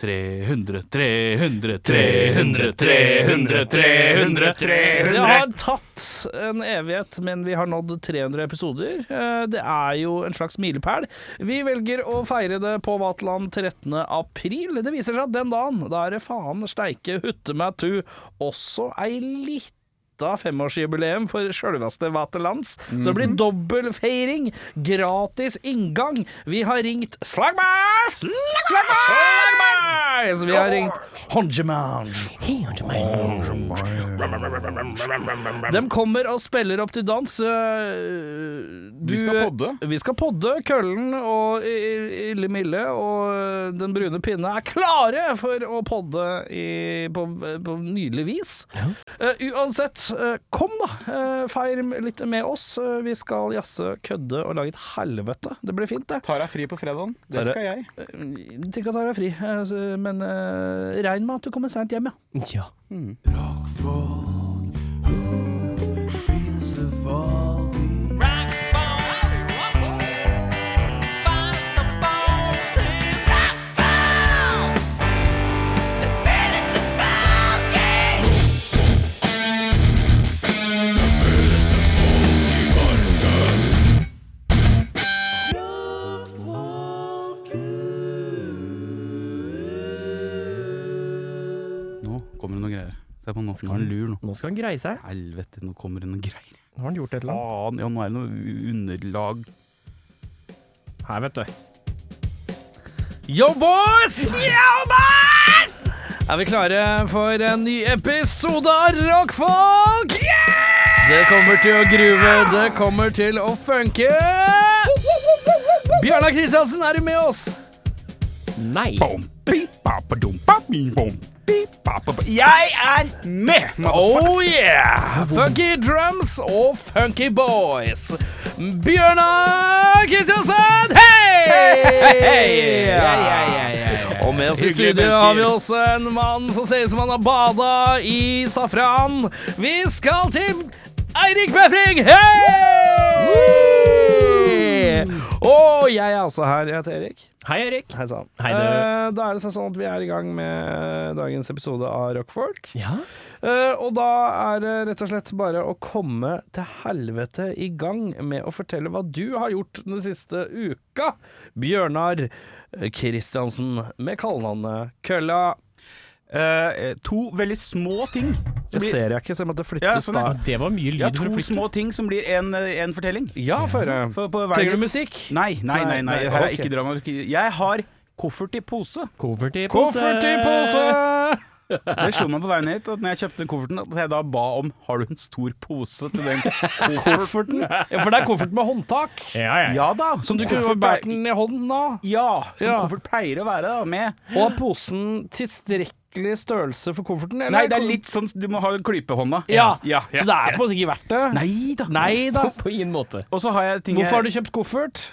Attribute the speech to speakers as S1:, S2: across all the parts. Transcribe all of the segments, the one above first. S1: 300, 300, 300, 300, 300, 300
S2: Det har tatt en evighet, men vi har nådd 300 episoder. Eh, Det er jo en slags milepæl. Vi velger å feire det på Vaterland 13. april. Det viser seg at den dagen, da er det faen steike hutte meg tu, også ei lita femårsjubileum for sjølveste Vaterlands. Så det blir dobbel feiring, gratis inngang. Vi har ringt Slagmark! Slagmark! Vi har ringt Honjemange. De kommer og spiller opp til dans. Øh, du-
S3: Vi skal podde.
S2: Vi skal podde. Køllen og I- I- Ille Mille og øh, Den brune pinne er klare for å podde i, på, på nydelig vis. Eh, uansett, eh, kom da. Eh, feir litt med oss. Eh, vi skal jazze, kødde og lage et helvete. Det blir fint, det.
S3: Tar deg fri på fredagen. Det
S2: Tar
S3: skal jeg.
S2: Eh, Tenk at jeg er fri, eh, så- men eh, regn med at du kommer seint hjem, ja.
S4: Ja.
S1: Nå kommer det noen greier. Se på, nå skal han lure nå.
S4: Nå skal han greie seg.
S1: Helvete, nå kommer det noen greier.
S4: Nå har han gjort et eller annet.
S1: Faen, ja, nå er det noe underlag.
S4: Her, vet du.
S2: Yo, boys! Yo, boys! Er vi klare for en ny episode av Rockfolk? Det kommer til å gruve, det kommer til å funke. Bjørnar Kristiansen, er du med oss?
S4: Nei.
S3: Jeg er med!
S2: Oh yeah! Funky drums og funky boys. Bjørnar Kristiansen, hei! Og med oss i
S3: Hyggelige
S2: studio har vi
S3: mennesker.
S2: også en mann som ser ut som han har bada i safran. Vi skal til Eirik Befring! Hei! Og jeg er også her. Jeg heter Erik.
S4: Hei, Erik.
S2: Hei sann.
S4: Hei, du.
S2: Eh, Da er det sånn at vi er i gang med dagens episode av Rockfolk.
S4: Ja.
S2: Eh, og da er det rett og slett bare å komme til helvete i gang med å fortelle hva du har gjort den siste uka, Bjørnar Kristiansen, med kallenavnet Kølla.
S3: Eh, to veldig små ting.
S2: Det
S3: Som blir,
S2: ser jeg ikke, så jeg måtte flytte
S3: Ja,
S2: ja,
S3: sånn er
S4: Det var mye lyd
S3: ja,
S4: for
S3: to
S4: å flytte.
S3: små ting som blir en, eh, en fortelling.
S2: Ja, få høre.
S3: På, på hver-
S2: Trenger du musikk?
S3: Nei, nei, nei.
S2: Nei,
S3: nei.
S2: nei,
S3: Her er
S2: ok.
S3: ikke dramaturgi. Jeg har koffert i pose.
S4: Koffert i pose.
S2: Koffert i pose!
S3: Det slo meg på veien hit at når jeg kjøpte den kofferten, at jeg da ba om Har du en stor pose til den kofferten?
S2: Ja, for det er koffert med håndtak.
S4: Ja, ja.
S3: Ja da.
S2: Som du kunne
S3: Koffert
S2: båret
S3: er-
S2: den i hånden av.
S3: Ja, som
S2: Ja.
S3: koffert pleier å være, da. Med
S2: Og har posen tilstrekkelig størrelse for kofferten? eller?
S3: Nei, det er litt sånn Du må ha klypehånda.
S2: Ja.
S3: ja, ja.
S2: Så det er på en måte ikke verdt det?
S3: Nei da.
S2: Nei da.
S4: På ingen måte.
S3: Og så har jeg ting
S2: Hvorfor har
S3: jeg,
S2: du kjøpt koffert?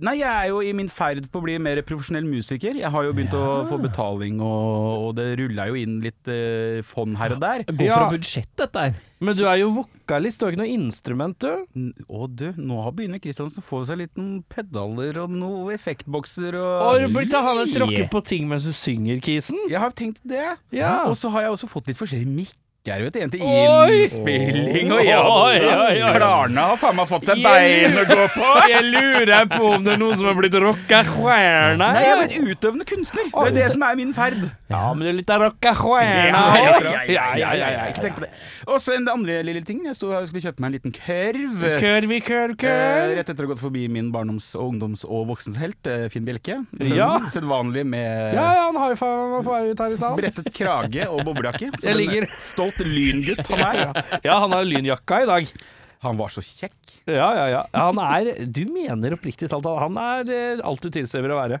S3: Nei, jeg er jo i min ferd på å bli mer profesjonell musiker. Jeg har jo begynt å få betaling, og, og det rulla jo inn litt eh, fond her og der.
S4: Gå
S2: Ja.
S4: fra budsjett, dette her.
S2: Men du er jo vokalist, du har ikke noe instrument, du.
S3: N- Å du, nå har begynner Kristiansen å få seg litt noen pedaler og noen effektbokser
S2: Og
S3: og
S2: du blir til han å tråkke
S4: Yeah.
S2: på ting mens du synger, Kisen.
S3: Jeg har tenkt det.
S2: Ja.
S3: Og så har jeg også fått litt forskjellige mikker, vet du. En til
S2: Oi!
S3: innspilling, og
S2: Oi,
S3: ja
S2: oi, oi, oi.
S3: da. Klarna har faen meg fått seg
S2: Igjen.
S3: bein å gå på.
S2: Jeg lurer på om det er noen som har blitt rocka stjerne.
S3: Nei, jeg er blitt utøvende kunstner. Det er det som er min ferd.
S2: Ja, men du er litt av rocka stjerne.
S3: Ja,
S2: også.
S3: ja, ja, ja, ja, ja, ikke tenk på det. Og så den andre lille tingen. Jeg sto her og skulle kjøpe meg en liten kørv.
S2: Kør vi kør,
S3: Eh,
S2: kør.
S3: rett etter å ha gått forbi min barndoms-, og ungdoms- og voksenshelt, eh, Finn Bjelke. Sønnen,
S2: Ja.
S3: Sedvanlig med
S2: Ja, ja, han high five var på vei ut her i stad.
S3: brettet krage og boblejakke. Som
S2: Jeg
S3: en
S2: ligger-
S3: stolt lyngutt han er.
S2: Ja, han har lynjakka i dag.
S3: eh, Han var så kjekk.
S2: Ja, ja, ja. Ja, Han er Du mener oppriktig talt at han er eh, alt du tilstreber å være.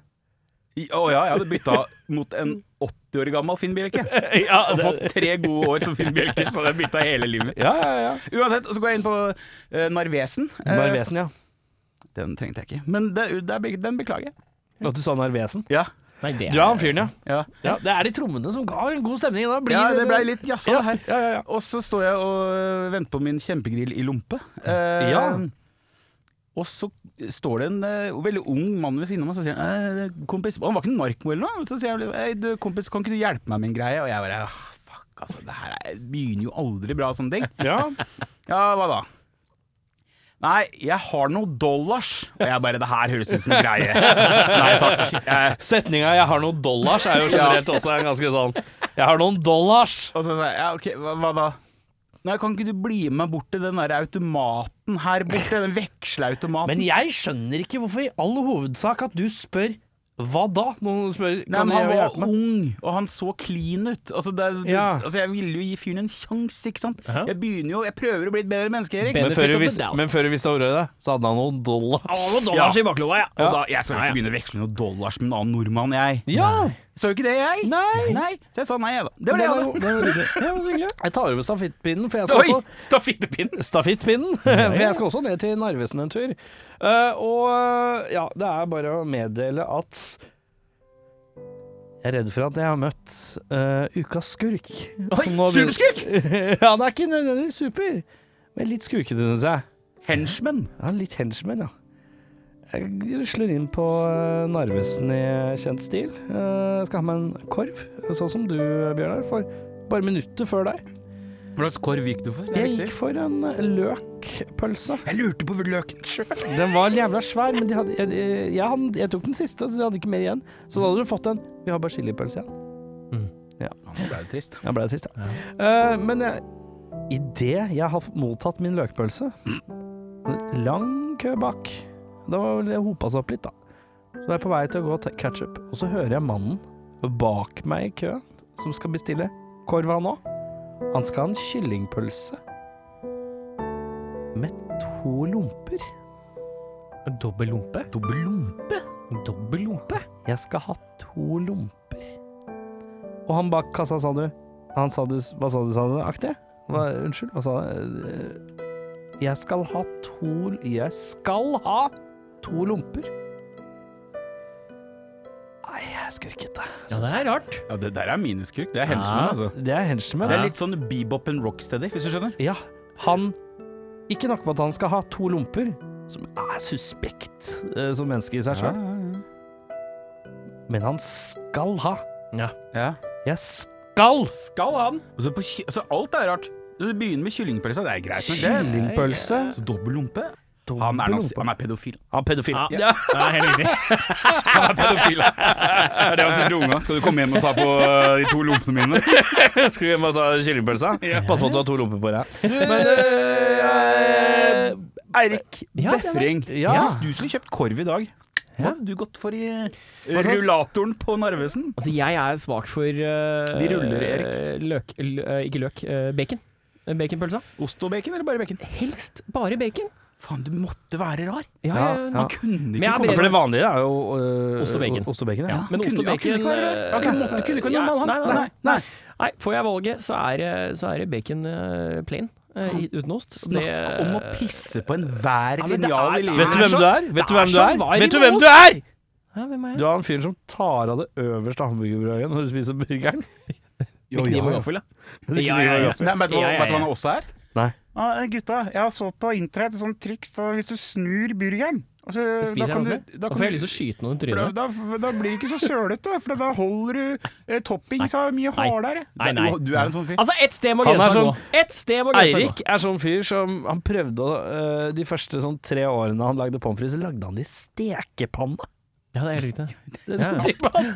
S3: I- Å ja, jeg hadde bytta mot en 80 år gammel Finn Bjelke.
S2: Ja,
S3: Og fått tre gode år som Finn Bjelke, så hadde jeg bytta hele livet.
S2: ja, ja. ja.
S3: Uansett, og så går jeg inn på eh, Narvesen. Eh,
S2: Narvesen, ja.
S3: Den trengte jeg ikke. Men det, det, er- den beklager jeg.
S2: At du sa Narvesen.
S3: Ja.
S4: Nei, det
S2: Du er han fyren, ja.
S3: Ja.
S2: Ja, Det er de trommene som ga en god stemning. Da blir
S3: ja, det ble litt sånn. jazza
S2: ja,
S3: det her.
S2: ja, ja, ja.
S3: øh, Og så står jeg og venter på min kjempegrill i lompe. Eh,
S2: Ja.
S3: Og så står det en eh, veldig ung mann ved siden av meg og sier han, «Eh, kompis, Han var ikke en narko eller noe. Så sier han «Ei, du, kompis, kan ikke du hjelpe meg med en greie? Og jeg bare «Ah, fuck, altså. Det her er- begynner jo aldri bra, sånne ting.
S2: Ja.
S3: Ja, hva da? Nei, jeg har noen dollars. Og jeg bare Det her høres ut som en greie. Nei takk. Jeg,
S2: Setninga 'jeg har noen dollars' er jo generelt også en ganske sånn 'jeg har noen dollars'.
S3: og så sa jeg ja, OK, hva, hva da? Nei, kan ikke du bli med meg bort til den der automaten her borte? Den veksleautomaten.
S2: Men jeg skjønner ikke hvorfor i all hovedsak at du spør 'hva da?' Noen spør
S3: Nei,
S2: kan
S3: men han
S2: jeg
S3: var
S2: hjelpe meg?
S3: ung, og han så clean ut. Altså, det, er-
S2: Ja.
S3: altså Jeg ville jo gi fyren en sjanse, ikke sant. Jeg begynner jo, jeg prøver å bli et bedre menneske, Erik.
S4: Be-
S2: Men før,
S4: Benefit
S2: du
S4: of the
S2: visste,
S4: doubt.
S2: men før du visste ordet av det, så hadde han noen dollar.
S4: dollars i baklomma, ja.
S3: og da, jeg skal jo ikke begynne å veksle noen dollars med en annen nordmann, jeg.
S2: Ja!
S3: Så jo ikke det, jeg.
S2: Nei!
S3: Nei, Så jeg sa nei, jeg, da. Det var
S2: Det
S3: det jeg
S2: var,
S3: hadde.
S2: det var hyggelig. Det var så hyggelig. Jeg tar over stafettpinnen, for jeg skal også
S3: Oi! Stafittepinnen.
S2: Stafittpinnen. For jeg skal også ned til Narvesen en tur. Eh, og ja, det er bare å meddele at jeg er redd for at jeg har møtt eh, ukas skurk. Som nå vil- ja, han er ikke nødvendigvis super, men litt skurkete, syns jeg.
S3: Henchman.
S2: Ja, litt henchman, ja. Jeg rusler inn på eh, Narvesen i kjent stil. Eh, skal ha meg en korv, sånn som du, Bjørnar, for bare minuttet før deg.
S3: Hva slags korv gikk du for? Det er
S2: Jeg gikk
S3: viktig.
S2: for en løkpølse.
S3: Jeg lurte på hvor løken sjøl.
S2: Den var jævla svær, men de hadde, jeg, jeg, jeg, hadde, jeg tok den siste, så de hadde ikke mer igjen. Så da hadde du fått en Vi har bare chilipølse igjen.
S3: Det ble jo trist.
S2: Jeg ble trist, ja. Eh, men jeg- i idet jeg har mottatt min løkpølse Lang kø bak. Da var vel det hopa seg opp litt, da. Så jeg er på vei til å gå og ta ketsjup, og så hører jeg mannen bak meg i køen, som skal bestille korv, han òg. Han skal ha en kyllingpølse med to lomper.
S4: Dobbel lompe?
S3: Dobbel lompe.
S4: Dobbel lompe?
S2: Jeg skal ha to lomper. Og han bak kassa sa du Han sa du Hva sa du, sa du? Aktig? Hva, unnskyld, hva sa du? Eh, Jeg skal ha to Jeg skal ha to lomper. Nei, jeg er skurkete.
S4: Ja, det er rart.
S3: Ja, det der er min skurk. Det er
S4: Ja.
S2: Ah.
S3: henchman, altså.
S2: Det er henchman.
S3: Det er litt sånn bebop and rocksteady, hvis du skjønner.
S2: Ja, han Ikke nok med at han skal ha to lomper, som er suspekt eh, som menneske i seg sjøl, men han skal ha.
S3: Ja.
S2: Jeg skal!
S3: Skal han? Og så på, ky- altså alt er rart. Du begynner med kyllingpølse, det er greit. Men det
S2: Kyllingpølse.
S3: Så dobbel lompe? Han er, nazi- han er pedofil.
S2: Han er pedofil.
S4: Ja, det er helt riktig.
S3: Han er pedofil. Det er det han sier til unga. Skal du komme hjem og ta på eh, de to lompene mine?
S2: Skal vi hjem og ta kyllingpølsa? Pass på at du har to lomper på deg.
S4: eh,
S2: Men, eh,
S3: Eirik
S4: Ja, det er
S3: Befring,
S2: Ja.
S3: hvis du skulle kjøpt korv i dag, hva hadde du gått for i rullatoren på Narvesen?
S4: Altså, jeg er svak for eh,
S3: De ruller, Erik.
S4: Løk, l eh, ikke løk, eh, bacon. Eh, Baconpølsa.
S3: Ost og bacon, eller bare bacon?
S4: Helst bare bacon.
S3: Faen, du måtte være rar.
S4: Ja,
S2: Ja,
S4: jeg-
S2: ja.
S3: Han kunne
S4: Men jeg
S3: ikke
S4: er
S3: komme
S4: bred-
S2: for det vanlige er jo øh,
S4: Ost og bacon.
S2: Ost og bacon, ja.
S4: Ja, men
S3: han
S4: ost og
S3: kunne- han kunne
S4: bacon
S3: ikke være rar. Han kunne- måtte- kunne ikke være
S4: eh,
S3: normal, han.
S4: Nei, nei, nei.
S3: Nei, nei.
S4: nei, får jeg valget, så er, det- så er det bacon eh, plain eh, i- uten ost. Det-
S3: Snakk om å pisse på enhver
S4: Ja, men det
S3: linjal
S4: er-
S3: i
S4: det
S3: livet.
S2: Vet du hvem
S4: så-
S2: du er? Vet du
S4: det er
S2: hvem du
S4: så
S2: er?
S4: varm
S2: Vet du
S4: i
S2: hvem
S4: oss.
S2: du er?
S4: Hæ, hvem er
S2: Du
S4: jeg?
S2: er han fyren som tar av det øverste hamburgerbrødet når du spiser burgeren.
S4: Med kniv og gaffel, ja. Ja, ja, ja.
S3: Nei, vet du hva
S4: Ja, ja,
S3: vet du
S4: ja.
S3: hva han også er?
S2: Nei.
S5: Ja, gutta, jeg så på internett et sånt triks. Da, hvis du snur burgeren altså, da,
S4: Spiser jeg
S5: kan du,
S4: den?
S5: da,
S4: Da
S5: kan
S4: får jeg
S5: du,
S4: lyst til å skyte noen i
S5: for da,
S4: trynet.
S5: da, da blir det ikke så sølete, for da holder du eh, toppings av mye
S4: Nei.
S5: hardere.
S4: Nei, nei.
S3: Du, du er en sånn fyr.
S4: Altså, ett sted må
S2: Han er
S4: grensa gå.
S2: sånn-
S4: Ett sted må grensa gå.
S2: Eirik er sånn fyr som han prøvde å øh, De første sånn tre årene han lagde pommes frites, så lagde han det i stekepanne.
S4: Ja, det er helt riktig.
S2: Det er
S4: Ja, ja.
S2: sånn type han.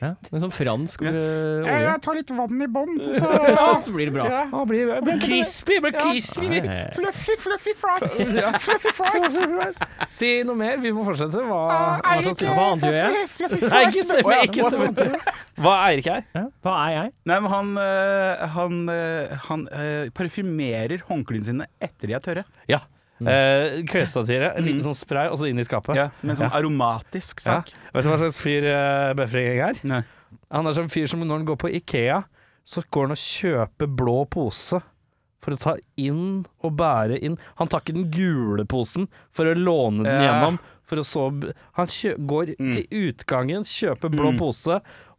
S4: Ja. En sånn fransk øh,
S5: Ja,
S4: olje.
S5: jeg tar litt vann i bånn, så
S4: Ja,
S5: ja.
S4: så blir det bra.
S5: ja.
S2: Han blir, jeg blir crispy! Jeg blir
S5: Ja.
S2: crispy.
S4: Ja, ja, ja.
S5: Fluffy, fluffy fries! Fluffy fries!
S2: Si noe mer, vi må fortsette. Hva,
S5: Ah,
S2: hva
S5: Eirik,
S2: slags-
S5: eh,
S4: hva annet gjør jeg?
S5: fluffy- Fluffy
S2: Nei, ikke
S5: fries!
S2: stemme,
S5: Å, ja.
S2: ikke stemme. Hva Eirik er?
S4: Ja, Hva er jeg?
S3: Nei, men han, øh, han, øh, han øh, parfymerer håndklærne sine etter de er tørre.
S2: Ja. Eh, Klesstativet, en liten sånn spray, og så inn i skapet.
S3: Ja, Med en sånn aromatisk
S2: Ja.
S3: sak.
S2: Vet du hva slags fyr uh, Befring er?
S3: Nei.
S2: Han er sånn fyr som når han går på Ikea, så går han og kjøper blå pose for å ta inn og bære inn. Han tar ikke den gule posen for å låne den
S3: Ja.
S2: gjennom. For å så b- han kjø går til utgangen, kjøper blå
S3: Mm.
S2: pose,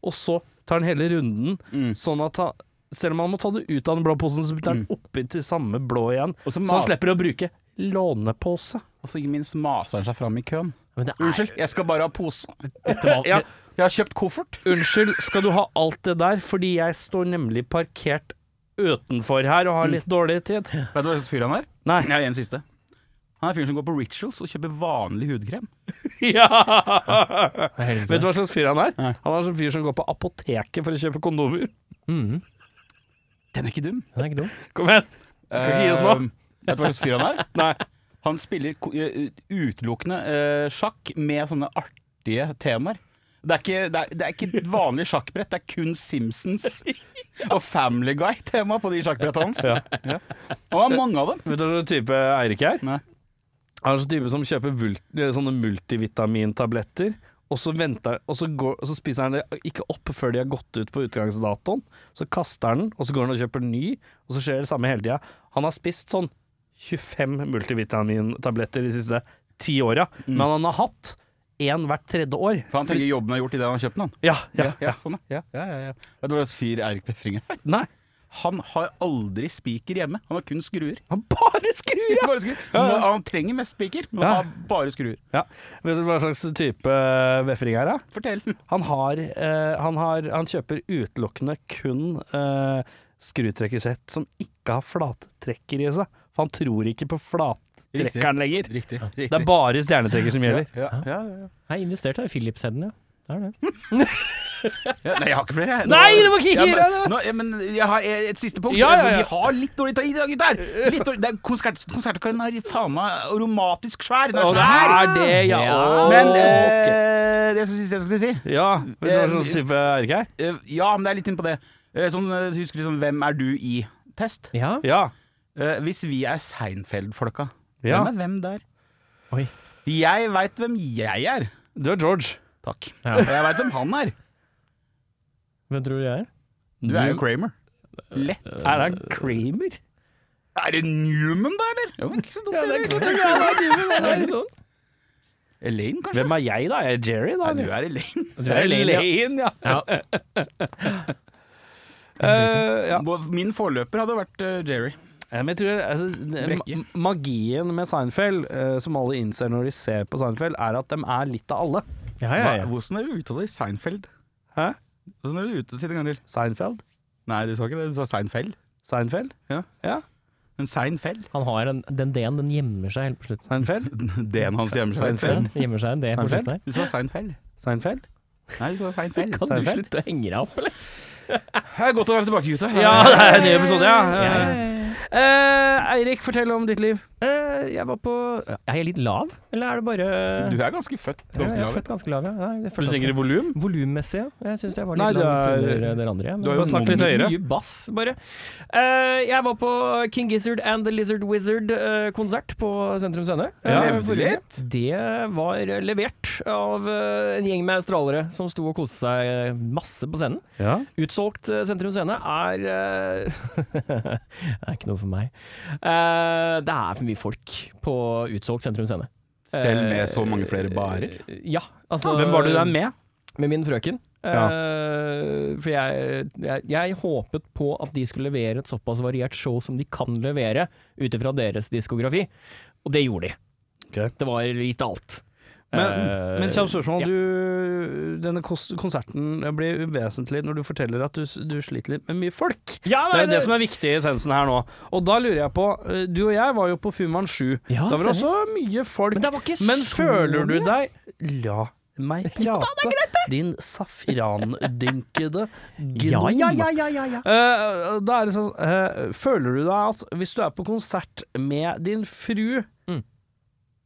S2: og så tar han hele runden.
S3: Mm.
S2: Sånn at han, selv om han må ta det ut av den blå posen, så putter han oppi til samme blå iggen.
S3: Mm. Og så
S2: Så han
S3: mas-
S2: slipper å bruke lånepose.
S3: og Og så ikke minst maser han seg fram i køen.
S4: Men det er,
S3: Unnskyld, jeg skal bare ha pose.
S4: Dette var,
S2: Ja.
S3: Jeg har kjøpt koffert.
S2: Unnskyld, skal du ha alt det der? Fordi jeg står nemlig parkert utenfor her og har litt dårlig tid.
S3: Vet du hva slags fyr han er?
S2: Nei.
S3: Jeg har en siste. Han er fyren som går på rituals og kjøper vanlig hudkrem.
S2: Ja!
S4: det er helt
S2: Vet du hva slags fyr han er? Han er sånn fyr som går på apoteket for å kjøpe kondomer.
S4: Mhm.
S3: Den er ikke dum.
S4: Den er ikke dum.
S2: Kom igjen! Kan ikke gi oss nå.
S3: Eh, Vet du hva slags fyr han er?
S2: Nei.
S3: Han spiller ko- eh, utelukkende eh, sjakk med sånne artige temaer. Det er, ikke, det, er, det er ikke et vanlig sjakkbrett, det er kun Simpsons og Family Guy-tema på de sjakkbrettene hans. Ja. Og han har mange av dem.
S2: Vet du hva slags type Eirik er?
S3: Nei.
S2: Han er sånn type som kjøper vult, eh, sånne multivitamintabletter, og så, venter, og, så går, og så spiser han det ikke opp før de har gått ut på utgangsdatoen. Så kaster han den, og så går han og kjøper ny, og så skjer det samme hele tida. Han har spist sånn 25 multivitamintabletter de siste ti åra, men han har hatt én hvert tredje år.
S3: For han tenker jobben er gjort i det han har kjøpt den. han.
S2: Ja, ja,
S3: ja, sånn, ja. Ja, ja, ja. Vet du hva slags fyr Eirik Befring er?
S2: Nei,
S3: Han har aldri spiker hjemme, han har kun skruer.
S2: han bare skrur! Ja.
S3: Bare skruer. Nå- Han trenger mest spiker, men
S2: Ja.
S3: han har bare skruer.
S2: Ja. Vet du hva slags type vefring er, da?
S3: Fortell.
S2: Han har, eh, han har Han kjøper utelukkende kun eh, skrutrekkersett som ikke har flattrekker i seg. For han tror ikke på flattrekkeren lenger.
S3: Riktig. riktig.
S2: Det er bare stjernetrekker som
S3: ja,
S2: gjelder.
S3: ja, ja, ja.
S4: Jeg investerte i Philips-heden, ja. Det er det.
S3: Ja, nei, jeg har ikke flere. jeg. Nå-
S2: Nei, det var ikke
S3: Ja, men-
S2: Hira, det!
S3: Nå, ja, men jeg har et et siste punkt.
S2: Ja, ja, ja.
S3: Vi har litt dårlig tid i dag, gutter! Litt dårlig. Det er konsert, konsertkallen er faen meg aromatisk svær. Den er
S2: Og det
S3: svær!
S2: er det, ja.
S4: Ja.
S3: Men
S2: Ok.
S3: eh, det som siste jeg skulle si
S2: Ja, vet du hva slags type Erik er?
S3: eh, Ja, men det er litt inn på det. Eh, sånn, eh, husker du sånn Hvem er du i-test?
S4: Ja.
S2: Ja.
S3: hvis vi er Seinfeld-folka,
S2: Ja.
S3: hvem er hvem der?
S4: Oi.
S3: Jeg veit hvem jeg er.
S2: Du er George.
S3: Takk.
S4: Ja.
S3: Og jeg veit hvem han er.
S4: Hvem tror du jeg er?
S3: Du er jo Kramer. Lett.
S2: Er han Kramer?
S3: Er det Newman, da, eller? Jo, ikke så dumt. eller? Elaine, kanskje?
S2: Hvem er jeg, da? Jeg er Jerry, da.
S3: Nei, du
S2: eller?
S3: er Elaine.
S4: Du er Elaine, ja.
S2: Elaine, ja.
S4: Ja.
S2: Eh, ja.
S3: Vår- Min forløper hadde vært eh, Jerry.
S2: Ja, men jeg tror, altså, det-
S3: Brekke.
S2: ma- magien med Seinfeld, eh, som alle innser når de ser på Seinfeld, er at de er litt av alle.
S4: Ja, ja,
S3: Hva-
S4: ja.
S3: Hvordan er det du uttaler Seinfeld?
S2: Hæ?
S3: Hvordan er det du uttaler si det en gang til?
S2: Seinfeld?
S3: Nei, du sa ikke det, du sa Seinfeld.
S2: Seinfeld?
S3: Ja. Men Seinfeld?
S4: Han har en, den D-en, den gjemmer seg helt på slutten.
S2: Seinfeld?
S3: D-en hans hjemme.
S4: Ja,
S3: Seinfeld.
S4: det gjemmer seg en D på
S2: Seinfeld?
S4: slutten her.
S3: Du sa Seinfeld.
S2: Seinfeld?
S3: Nei, du sa
S4: Kan
S3: Seinfeld.
S4: du
S2: Seinfeld?
S4: slutte å henge deg opp, eller?
S3: Det er godt å være tilbake, gutta.
S2: Ja, det er en ny episode, ja.
S4: Ja, ja,
S2: Eh, Eirik, fortell om ditt liv.
S4: Eh, Jeg var på Er jeg litt lav, eller er det bare
S3: Du er ganske født. Ganske
S4: Jeg er
S3: lav.
S4: født ganske lav, ja. Jeg følte at-
S2: volum?
S4: Volummessig, ja. Jeg syns jeg var
S2: Nei,
S4: litt
S2: du
S4: langt
S2: er-
S4: under dere andre. men-
S3: Du har jo
S2: snakket litt
S4: mye,
S2: høyere.
S4: mye bass, bare. Eh, jeg var på King Gizzard and The Lizard Wizard-konsert på Sentrum Scene.
S2: Ja,
S4: eh, forrige
S3: levlet.
S4: uke. Det var levert av eh, en gjeng med australiere som sto og koste seg eh, masse på scenen.
S2: Ja.
S4: Utsolgt eh, Sentrum Scene er eh, Det er ikke noe for meg. Eh, det er for mye folk på utsolgt Sentrum Scene.
S3: Selv med så mange flere barer?
S4: Eh, Ja. Altså,
S2: Hvem var du der med?
S4: med min frøken.
S2: Ja.
S4: Eh, for jeg, jeg, jeg håpet på at de skulle levere et såpass variert show som de kan levere, ut ifra deres diskografi. Og det gjorde de.
S2: Ok.
S4: Det var litt av alt. Eh,
S2: Men, men kjapt spørsmål.
S4: ja.
S2: Du, denne kos- konserten blir uvesentlig når du forteller at du, s- du sliter litt med mye folk.
S4: Ja,
S2: Det er jo det som er viktig i essensen her nå. Og da lurer jeg på eh, Du og jeg var jo på Fuman 7.
S4: Ja,
S2: da var det
S4: stemmer.
S2: også mye folk.
S4: Men det var ikke
S2: Men
S4: så
S2: føler du
S4: mye.
S2: deg La meg prate, din safrandynkede
S4: Ja,
S2: gnom.
S4: ja, ja, ja, ja, ja.
S2: Eh, da er det sånn eh, Føler du deg at hvis du er på konsert med din fru
S4: Mm.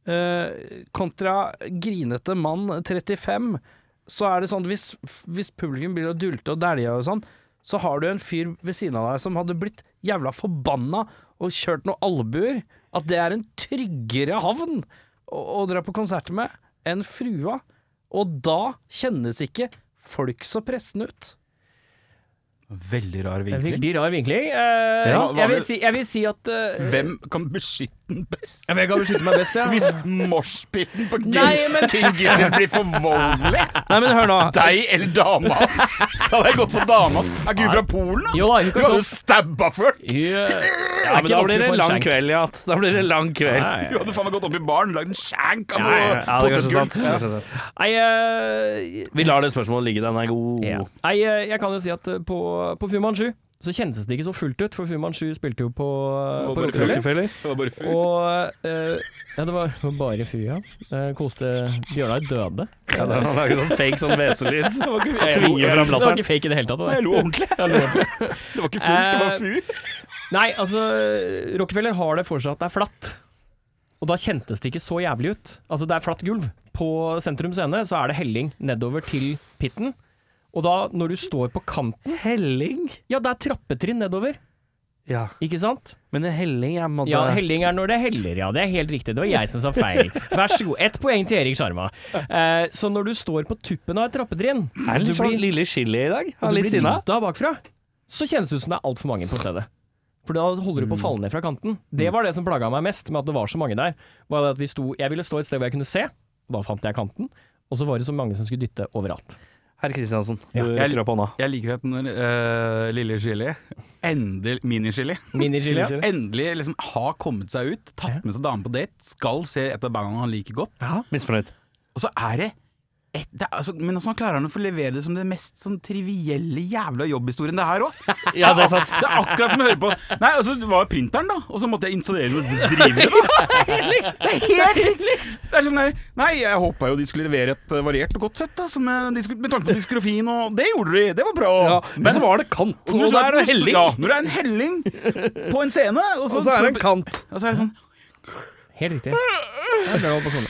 S2: eh, kontra grinete mann 35, så er det sånn hvis, hvis publikum blir å dulte og dælje og sånn, så har du en fyr ved siden av deg som hadde blitt jævla forbanna og kjørt noen albuer, at det er en tryggere havn å, å dra på konsert med enn frua. Og da kjennes ikke folk så pressende ut.
S1: Veldig rar
S4: Det er
S1: vinkling.
S4: Veldig rar vinkling. Eh,
S1: Ja, hva
S4: jeg, vil
S1: vil-
S4: si, jeg vil si at eh,
S3: Hvem kan beskytte den best?
S4: Jeg kan beskytte meg best, ja.
S3: Hvis moshpiten på King,
S4: Nei, men-
S3: King Gizzard blir for voldelig,
S2: Nei, men hør nå.
S3: deg eller dama hans Da hadde jeg gått for dama hans. Er ikke hun fra Polen, da?
S4: Jo da, hun
S3: Hun
S4: kan
S3: hadde jo
S4: slåss.
S3: stabba før.
S2: Ja, men da blir det lang
S4: kveld.
S2: kveld, ja. Da blir det lang kveld.
S3: Hun hadde faen meg gått opp i baren, lagd en shank av
S2: Ja, ja, ja, det er kanskje sant. Det er
S3: potetgull.
S2: kanskje sant. Nei, eh, vi lar det spørsmålet ligge, den er god.
S4: Ja. Nei, eh, jeg kan jo si at eh, på, på Fu Manchu så kjentes det ikke så fullt ut, for Fu Manchu spilte jo på, eh,
S3: Og
S4: på
S3: bare
S4: Rockefeller.
S2: Rockefeller.
S3: Det var bare fyr.
S4: Og eh, Ja, det var bare Fu, ja. Eh, koste Bjørnar døde.
S2: Ja, da har laget sånn fake sånn hveselyd.
S4: Jeg lo-
S2: Tvinger fram
S4: Det var
S2: latteren.
S4: ikke fake i det hele tatt. det der.
S3: Jeg lo ordentlig. Det var ikke fullt, det var fyr.
S4: Nei, altså Rockefeller har det for seg at det er flatt. Og da kjentes det ikke så jævlig ut. Altså, det er flatt gulv. På Sentrum Scene så er det helling nedover til pitten. Og da, når du står på kanten
S2: Helling?
S4: Ja, det er trappetrinn nedover,
S2: Ja.
S4: ikke sant?
S2: Men en helling er måtte...
S4: Ja, helling er når det heller, ja. Det er helt riktig. Det var jeg som sa feil. Vær så god. Ett poeng til Erik Sjarma. Eh, så når du står på tuppen av et trappetrinn
S2: Er det litt
S4: du
S2: sånn
S4: blir-
S2: lille chili i dag?
S4: og
S2: Er
S4: du
S2: litt
S4: blir
S2: sinna?
S4: dytta bakfra, så kjennes det ut som det er altfor mange på stedet. For da holder du på å falle ned fra kanten. Det var det som plaga meg mest med at det var så mange der. Var det at vi sto, jeg ville stå et sted hvor jeg kunne se, og da fant jeg kanten. Og så var det så mange som skulle dytte overalt.
S2: Herr Kristiansen,
S4: Ja.
S2: du
S3: Jeg-
S2: rekker opp hånda.
S3: Jeg liker at når eh, lille chili, endel, mini-chili,
S4: Minichili.
S2: Minichili.
S3: endelig liksom har kommet seg ut, tatt med seg dame på date, skal se et av bandene han liker godt,
S4: Ja.
S2: Misfornøyd.
S3: og så er det et, det er, altså, men altså, han klarer han å få levere det som den mest sånn trivielle jævla jobbhistorien det her òg.
S2: Ja, det er sant.
S3: Det er akkurat som jeg hører på Nei, og så var printeren, da, og så måtte jeg installere noe drivere, da. Det er helt likt! Det er sånn der Nei, jeg håpa jo de skulle levere et eh, variert og godt sett, da, som, eh, de skulle, med tanke på diskrofien, og det gjorde de. Det var bra.
S2: Ja, men så var det kant, og
S3: når
S2: så er det
S3: når-
S2: helling.
S3: Ja, når det er en helling på en scene, og så,
S2: Og så er det en kant.
S3: og så er det sånn
S4: Helt riktig. Jeg prøver å holde på sånn.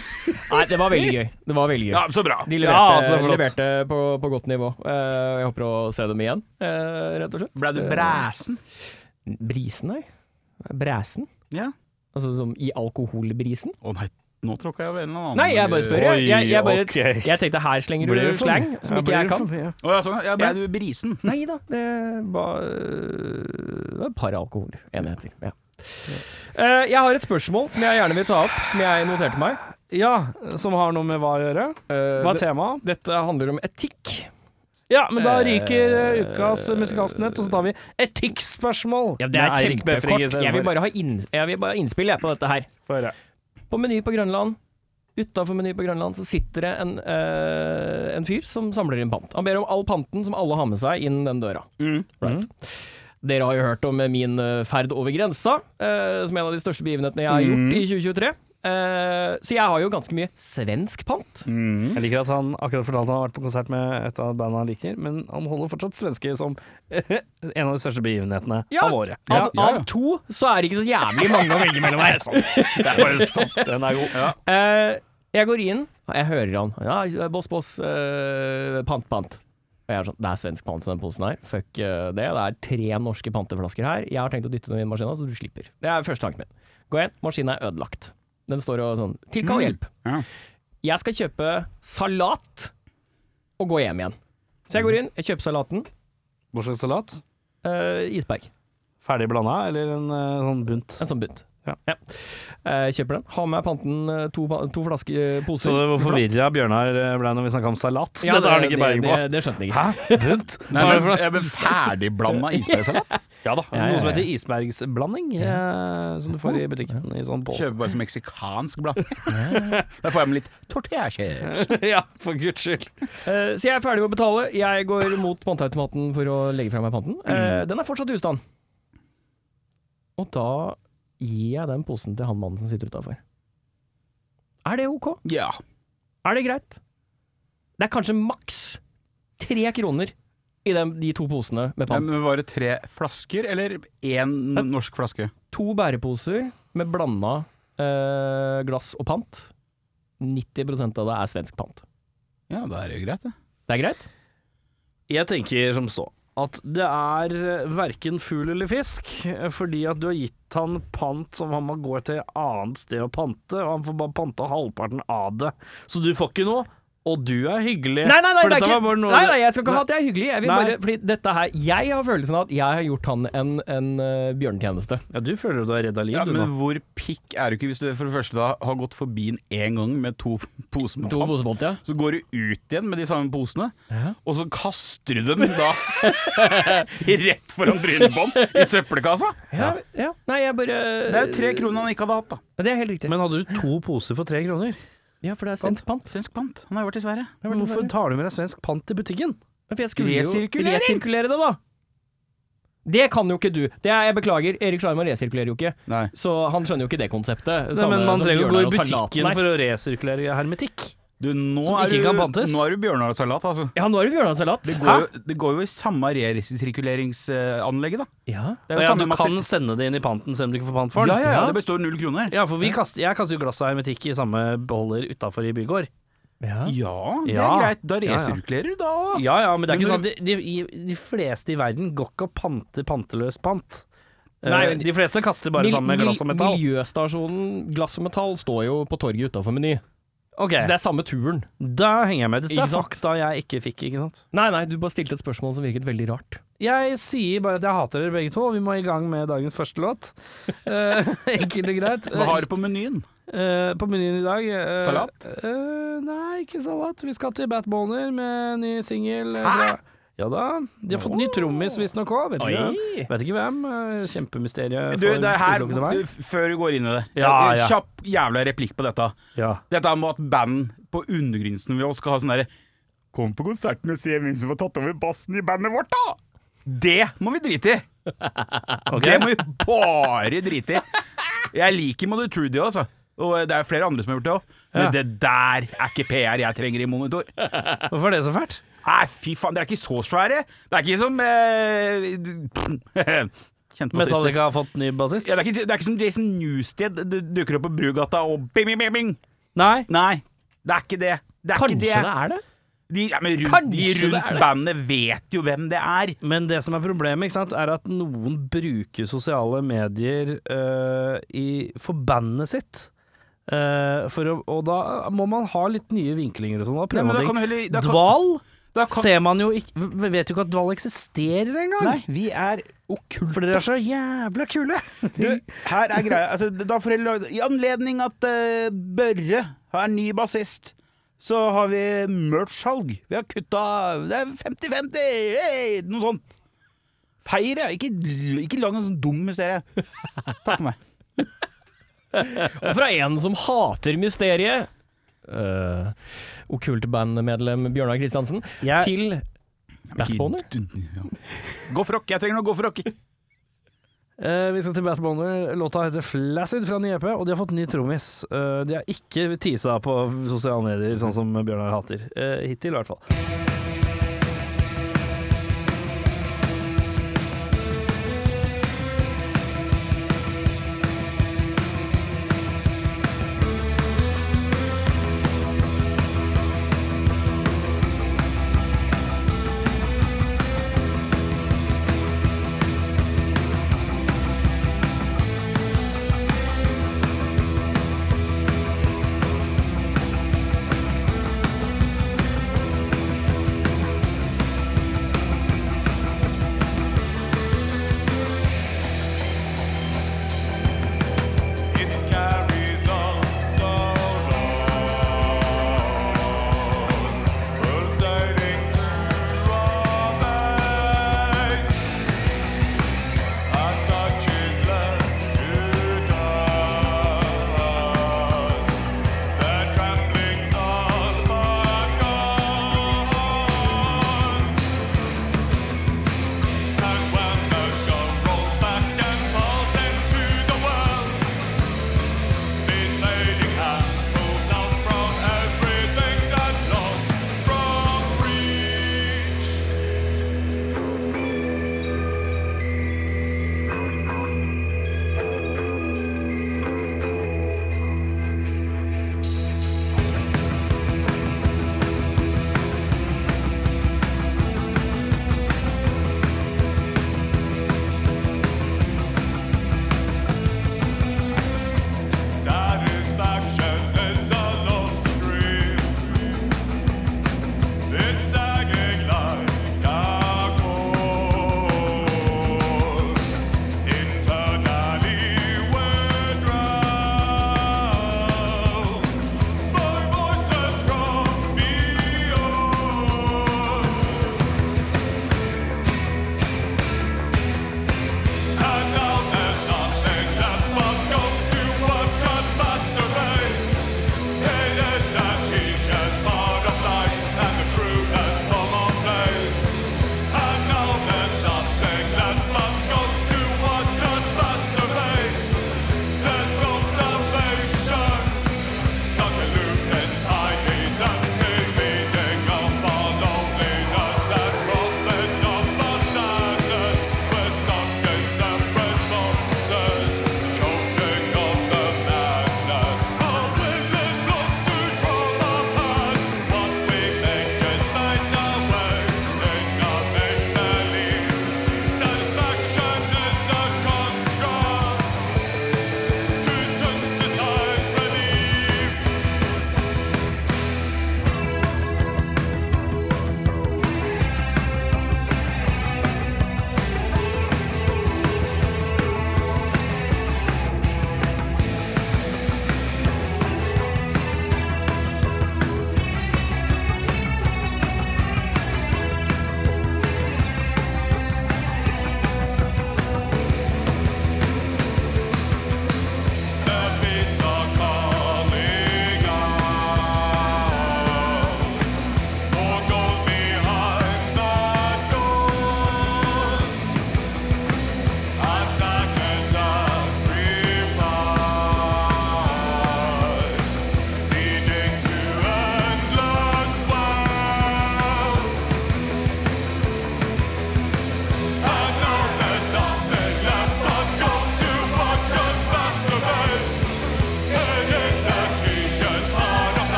S4: Nei, det var veldig gøy. Det var veldig gøy.
S3: Ja, så bra.
S4: De leverte,
S2: Ja, altså, flott.
S4: leverte på, på godt nivå. Eh, jeg håper å se dem igjen, eh, rett og slett.
S3: Ble du bræsen?
S4: Brisen, nei. Bræsen?
S3: Ja.
S4: Altså som i alkoholbrisen?
S3: Å nei, nå tråkka jeg over en eller annen.
S4: Nei, jeg bare spør. Jeg, jeg, jeg, bare,
S2: Oi, ok.
S4: jeg tenkte her slenger du
S2: Blir det for
S4: slang
S2: mye?
S4: som
S2: Ja,
S4: ikke
S2: blir
S4: jeg
S2: det
S4: kan.
S2: for mye?
S3: Å ja, sånn. Ja, ble du brisen?
S4: Nei da, det var eh, det var et par alkoholenheter. Ja. Eh, jeg har et spørsmål som jeg gjerne vil ta opp, som jeg noterte meg.
S2: Ja, som har noe med hva å gjøre.
S4: Eh,
S2: Hva er
S4: det,
S2: temaet?
S4: dette handler om etikk.
S2: Ja, men da
S4: Eh,
S2: ryker eh, ukas musikalske nøtt, og så tar vi etikkspørsmål. Med Eirik Befring
S4: kjempekort. Jeg vil
S2: istedenfor.
S4: bare ha, inn, jeg vil bare ha innspill jeg, på dette her.
S2: Få høre.
S4: På Meny på Grønland, utafor Meny på Grønland, så sitter det en, eh, en fyr som samler inn pant. Han ber om all panten som alle har med seg inn den døra. Right. Dere har jo hørt om min eh, ferd over grensa, eh, som er en av de største begivenhetene jeg har gjort i 2023. Eh, så jeg har jo ganske mye svensk pant.
S2: Jeg liker at han akkurat fortalte han har vært på konsert med et av bandene han liker, men han holder fortsatt svenske som en av de største begivenhetene
S4: Ja.
S2: av året.
S4: Av, av to så er det ikke så jævlig mange å velge mellom her.
S2: Det er faktisk sant. sånn. Den er god.
S4: Eh, jeg går inn, og jeg hører han. Ja, boss, boss, eh, pant, pant. Og jeg er sånn, Det er svensk pant i den posen her. Fuck eh, det. Det er tre norske panteflasker her. Jeg har tenkt å dytte dem i maskina, så du slipper. Det er første tanken min. Gå inn, maskina er ødelagt. Den står og sånn
S2: Mm.
S4: Tilkall hjelp.
S3: Ja.
S4: Jeg skal kjøpe salat og gå hjem igjen. Så jeg går inn, jeg kjøper salaten.
S2: Hva slags salat?
S4: eh, isberg.
S2: Ferdig blanda, eller en eh, sånn bunt?
S4: En sånn bunt.
S2: Ja.
S4: Eh, kjøper den. Har med panten eh, to, pa- to flasker, eh, poser.
S2: Så hvor
S4: Flasker.
S2: forvirra Bjørnar eh, ble når vi snakka om salat.
S4: Ja,
S2: Dette har han ikke peiling på.
S4: Det, det skjønte jeg ikke.
S2: Hæ? Bunt?
S3: Nei,
S2: Bare
S3: men,
S2: for å-
S3: jeg ble ferdigblanda isbergsalat.
S2: Ja da.
S4: ja, ja.
S2: Noe som heter isbergsblanding, eh, som du får i butikken i sånn pose.
S3: Kjøper bare så meksikansk blad. Der får jeg med litt tortilla-chips.
S2: ja, for guds skyld.
S4: Eh, så jeg er ferdig med å betale. Jeg går mot panteautomaten for å legge fra meg panten.
S2: Mm.
S4: Eh, den er fortsatt i ustand. Og da gir jeg den posen til han mannen som sitter utafor. Er det ok?
S3: Ja.
S4: Er det greit? Det er kanskje maks tre kroner i dem- de to posene med
S3: Ja,
S4: pant.
S3: Men var det tre flasker, eller én norsk flaske?
S4: To bæreposer med blanda eh, glass og pant. 90 av det er svensk pant.
S3: Ja, da er det jo greit, det.
S4: Det er greit?
S2: Jeg tenker som så at det er verken fugl eller fisk, eh, fordi at du har gitt han pant som han må gå til et annet sted å pante, og han får bare panta halvparten av det. Så du får ikke noe Og du er hyggelig.
S4: Nei, nei, nei,
S2: for
S4: det er
S2: dette
S4: ikke,
S2: var bare noe
S4: nei, nei, jeg skal ikke ha
S2: Nei.
S4: at jeg er hyggelig. Jeg, vil
S2: Nei.
S4: bare, fordi dette her, jeg har følelsen av at jeg har gjort han en, en eh, bjørnetjeneste.
S2: Ja, du føler jo du er redd av liv,
S3: Ja,
S2: du
S3: men
S2: nå.
S3: hvor pikk er du ikke hvis du for det første da har gått forbi den én gang med to poser med
S4: To
S3: pant?
S4: posebånd, ja.
S3: Så går du ut igjen med de samme posene,
S4: Ja.
S3: og så kaster du dem da rett foran trynet på han i søppelkassa!
S4: Ja, ja. Nei, jeg bare
S3: Det er jo tre kroner han ikke hadde hatt, da.
S4: Ja, Det er helt riktig.
S2: Men hadde du to poser for tre kroner?
S4: ja, for det er svensk pant.
S3: Svensk pant. Han har jo vært i Sverige.
S4: Det var
S2: Hvorfor
S4: dessverre.
S2: tar du med deg svensk pant i butikken?
S4: Ja, For jeg skulle jo
S3: Resirkulering!
S4: resirkulere det, da. Det kan jo ikke du. Det er, jeg beklager, Erik Slarman resirkulerer jo ikke.
S3: Nei.
S4: Så han skjønner jo ikke det konseptet.
S2: Nei,
S4: Samme
S2: men Man
S4: som
S2: trenger jo å gå i
S4: Bjørnar og salaten
S2: butikken
S4: der.
S2: for å resirkulere hermetikk.
S3: Du, nå
S2: Som
S3: er
S2: ikke
S3: du,
S2: kan pantes.
S3: Nå er du Bjørnar-salat, altså.
S4: Ja, nå er det Bjørnar-salat.
S3: Det går, jo, det går jo i samme resirkuleringsanlegget, da.
S4: Ja.
S2: Og
S3: Det er jo
S2: Ja,
S3: samme
S2: du kan sende det inn i panten selv om du ikke får pant for
S3: Ja,
S2: den.
S3: ja, ja, det består null kroner.
S2: Ja, for vi kaster, jeg kaster jo glass av hermetikk i samme beholder utafor i bygård.
S4: Ja.
S3: Ja, det er
S2: Ja.
S3: greit. Da
S2: Ja, ja.
S3: resirkulerer du, da.
S2: Ja ja, men det er ikke
S3: Men
S2: sånn at de, de, de fleste i verden går ikke og panter panteløs pant. Eh,
S4: Nei, men-
S2: de fleste kaster bare sammen med glass og metall.
S4: Miljøstasjonen Glass og Metall står jo på torget utafor Meny,
S2: Ok,
S4: så det er samme turen.
S2: Da henger jeg med. Dette
S4: Ikke
S2: er
S4: sant?
S2: fakta jeg ikke fikk, ikke sant.
S4: Nei, nei, du bare stilte et spørsmål som virket veldig rart.
S2: Jeg sier bare at jeg hater dere begge to, og vi må i gang med dagens første låt. Eh, enkelt og greit.
S3: Hva har du på menyen?
S2: Eh, på menyen i dag eh,
S3: Salat?
S2: eh, nei, ikke salat. Vi skal til Bat Boner med ny singel. eh, fra- Ja da. De har fått ny trommis, visstnok òg. Vet, ikke hvem. vet ikke hvem. eh, Kjempemysterium.
S3: Du,
S2: for
S3: det her,
S2: utelukkende meg.
S3: du, før du går inn i det,
S2: Ja, ja.
S3: kjapp jævla replikk på dette.
S2: Ja.
S3: Dette med at band på undergrunnsnivå skal ha sånn derre Kom på konserten og se hvem som har tatt over bassen i bandet vårt, da! Det må vi drite i! Det må vi bare drite i. Jeg liker Mother Trudy òg, altså. Og det er flere andre som har gjort det òg. Men
S2: Ja.
S3: det der er ikke PR jeg trenger i monitor.
S2: Hvorfor er det så fælt?
S3: Nei, fy faen, dere er ikke så svære. Det er ikke som eh, Kjente meg sist.
S2: Metallica har fått ny bassist?
S3: Ja, det, er ikke, det er ikke som Jason Newsted du- dukker opp på Brugata og bing, bing, bing, bing.
S2: Nei.
S3: Nei, det er ikke det. Det er
S4: Kanskje
S3: ikke
S4: det
S3: det.
S4: er det?
S3: De, ja, men rundt, de
S4: Kanskje det er
S3: rundt
S4: det.
S3: bandet vet jo hvem det er.
S2: Men det som er problemet, ikke sant, er at noen bruker sosiale medier eh, i, for bandet sitt. Eh, for å, og da må man ha litt nye vinklinger og sånn. Da prøver
S3: men da
S2: man
S3: kan du heller-
S2: ting.
S3: da kan-
S2: Dval
S3: Da kan-
S2: ser man jo ikke v- Vet jo ikke at dval eksisterer engang!
S3: Nei, vi er okkult.
S2: For dere er så jævla kule!
S3: Du, her er greia. Altså, da får jeg lage, I anledning at eh, Børre har en ny bassist, så har vi merch-salg. Vi har kutta Det er 50-50! Hey, noe sånt. Feire. Ikke, ikke lag noe sånn dum mysterie. Takk for meg.
S4: Og fra en som hater mysteriet, uh, okkultbandmedlem Bjørnar Kristiansen,
S2: Jeg-
S4: til Batboner.
S3: Gå for rock. Jeg trenger noe gå for rock.
S2: Eh, vi skal til Bat Bonner. Låta heter Flacid fra ny EP, og de har fått ny trommis. Eh, de har ikke tisa på sosiale medier, sånn som Bjørnar hater. Eh, hittil, i hvert fall.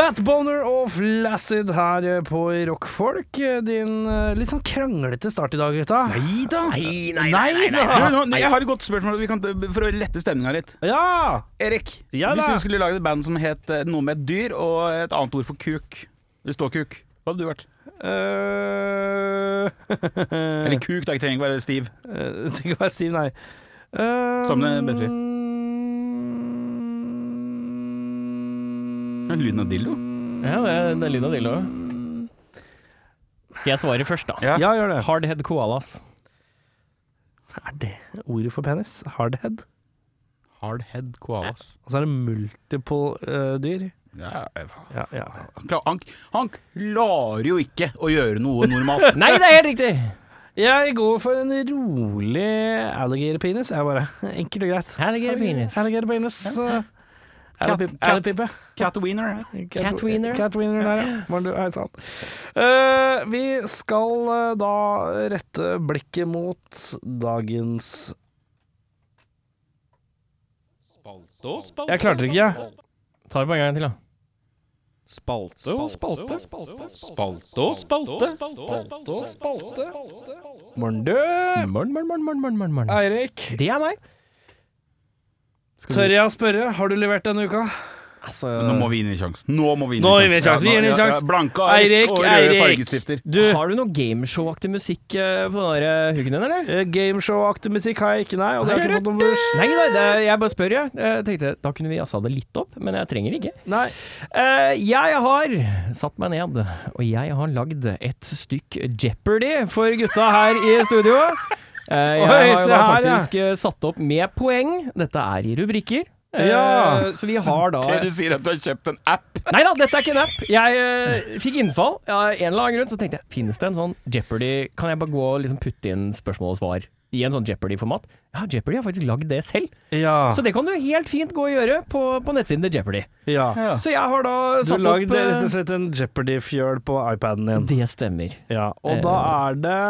S2: Fatboner og Flaccid her eh, på Rockfolk. Eh, Din eh, litt sånn kranglete start i dag, gutta.
S3: Nei da!
S2: nei, nei, nei, nei.
S3: Du, nå- Jeg har et godt spørsmål vi kan, for å lette stemninga litt.
S2: Ja!
S3: Erik,
S2: Ja
S3: hvis
S2: da.
S3: du skulle lage et band som het eh, noe med et dyr og et annet ord for kuk Det står kuk. Hva hadde du vært?
S2: Eh, Uh,
S3: Eller kuk, da. Jeg trenger ikke være stiv.
S2: Tenk å være stiv, nei. Eh, mm,
S3: Sammen med Bøtter. Lyden av dildo.
S4: Ja, det, det er lyd av dildo. Skal jeg svare først, da?
S3: Ja.
S2: Ja, gjør det.
S4: Hardhead koalas.
S2: Er det ordet for penis? Hardhead?
S3: Hardhead koalas.
S2: Og så er det multiple eh, dyr.
S3: Ja, hva
S2: Ja, ja.
S3: Han, klar, han, han klarer jo ikke å gjøre noe normalt.
S4: Nei, det er helt riktig!
S2: Jeg går for en rolig alligator-penis, jeg bare. Enkelt og greit. Eh,
S4: Alligator penis.
S2: Alligator-penis.
S3: Cat-
S2: Allipipe.
S3: Cat wiener.
S4: Catweener.
S2: Catweener der, ja. Var du- Hei sann. Eh, vi skal eh, da rette blikket mot dagens Jeg klarte det ikke, jeg.
S4: Ta det på en gang til, da.
S1: Spalte og spalte. Spalte og spalte. Spalte og spalte.
S2: Morn, du.
S4: Morn, morn, morn, morn, morn, morn, morn.
S2: Eirik,
S4: Det er meg. Skal
S2: tør
S4: du-
S2: jeg å spørre, har du levert denne uka?
S4: Altså,
S3: Nå må vi inn i sjansen. Nå må vi inn
S2: Nå gir
S3: i
S2: vi en sjanse, vi gir den en sjanse.
S3: Blanke
S2: Eirik,
S3: ark og røde
S2: Eirik.
S3: fargestifter.
S2: Du,
S4: Har du noe gameshow-aktig musikk eh, på den der eh, hooken din, eller?
S2: eh, gameshow-aktig musikk har jeg ikke, nei. Og det har jeg ikke fått noen børs.
S4: Nei, nei, det, er- jeg bare spør, jeg. jeg. tenkte, Da kunne vi jazza det litt opp, men jeg trenger det ikke.
S2: Nei.
S4: Eh, jeg har satt meg ned, og jeg har lagd et stykk Jeopardy for gutta her i studio. Eh, jeg har
S2: Oi,
S4: jo
S2: se
S4: da
S2: her, ja.
S4: faktisk eh, satt opp med poeng. Dette er i rubrikker. Eh,
S2: Ja.
S4: Så vi har da
S3: Dere sier at du har kjøpt en app.
S4: Nei da, dette er ikke en app. Jeg eh, fikk innfall av en eller annen grunn. Så tenkte jeg, finnes det en sånn Jeopardy Kan jeg bare gå og liksom putte inn spørsmål og svar i en sånn Jeopardy-format? Ja, Jeopardy har faktisk lagd det selv.
S3: Ah.
S2: Ja.
S4: Så det kan du helt fint gå og gjøre på, på nettsiden til Jeopardy.
S2: ja.
S4: Så jeg har da
S2: Du
S4: satt opp
S2: lagde rett
S4: eh,
S2: og slett en Jeopardy-fjøl på iPaden din.
S4: Det stemmer.
S2: Ja, og da er det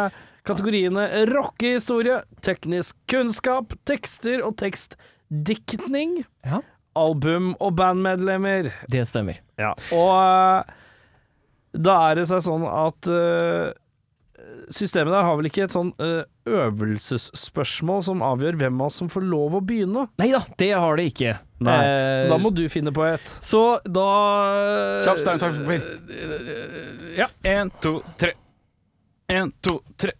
S2: kategoriene rockehistorie, teknisk kunnskap, tekster og tekstdiktning,
S4: Ja.
S2: album og bandmedlemmer.
S4: Det stemmer.
S2: Og eh, da er det seg sånn at eh, systemet der har vel ikke et sånn eh, øvelsesspørsmål som avgjør hvem av oss som får lov å begynne.
S4: Nei da, det har det ikke. Eh,
S2: Så da må du finne på et.
S4: Så da eh,
S3: Kjapp stein, saks, papir. Ja. En, to, tre. En, to, tre.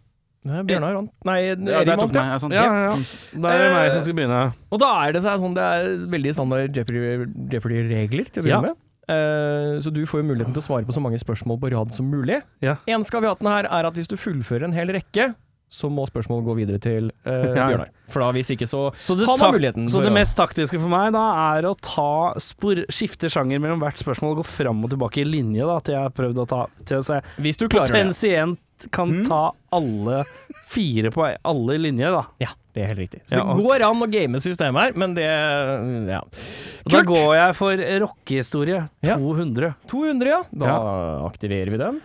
S4: Nei, Bjørnar vant. Nei,
S3: Ja,
S4: Erik
S3: der tok
S4: vant, ja.
S3: meg. ja, Sånn.
S2: Ja, Eh, ja, ja. Da er det meg som skal begynne.
S4: Og da er det seg sånn Det er veldig standard Jeopardy- Jeopardy-regler til å
S2: Ja.
S4: begynne med. Eh, så du får jo muligheten til å svare på så mange spørsmål på rad som mulig.
S2: Ja.
S4: En skaviaten her er at hvis du fullfører en hel rekke, så må spørsmålet gå videre til eh,
S2: Ja.
S4: Bjørnar. For da hvis ikke, så
S2: Så det,
S4: Han har
S2: tak
S4: muligheten
S2: så
S4: for
S2: det
S4: å-
S2: mest taktiske for meg da er å ta spor, skifte sjanger mellom hvert spørsmål og gå fram og tilbake i linje da, til jeg har prøvd å ta til å se.
S4: Hvis du klarer det.
S2: Potensielt kan ta alle fire på ei- alle linjer, da.
S4: Ja, det er helt riktig. Så
S2: Ja,
S4: det
S2: ok.
S4: går an å game systemet her, men det Ja.
S2: Og da
S4: Kult!
S2: går jeg for rockehistorie
S4: Ja.
S2: 200.
S4: 200, ja. Da aktiverer vi den.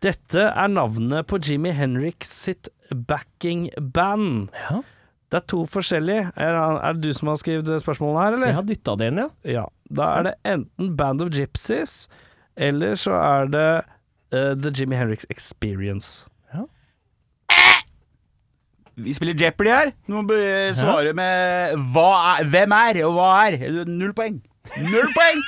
S2: Dette er navnet på Jimmy Henrik sitt backingband.
S4: Ja.
S2: Det er to forskjellige. Er, er det du som har skrevet spørsmålene her, eller?
S4: Jeg har dytta det inn, ja.
S2: Ja, da er det enten Band of Gypsies, eller så er det eh, The Jimmy Henriks Experience.
S3: Vi spiller Jeopardy her. Du må be- svare med hva er, hvem er, og hva er. Null poeng. Null poeng!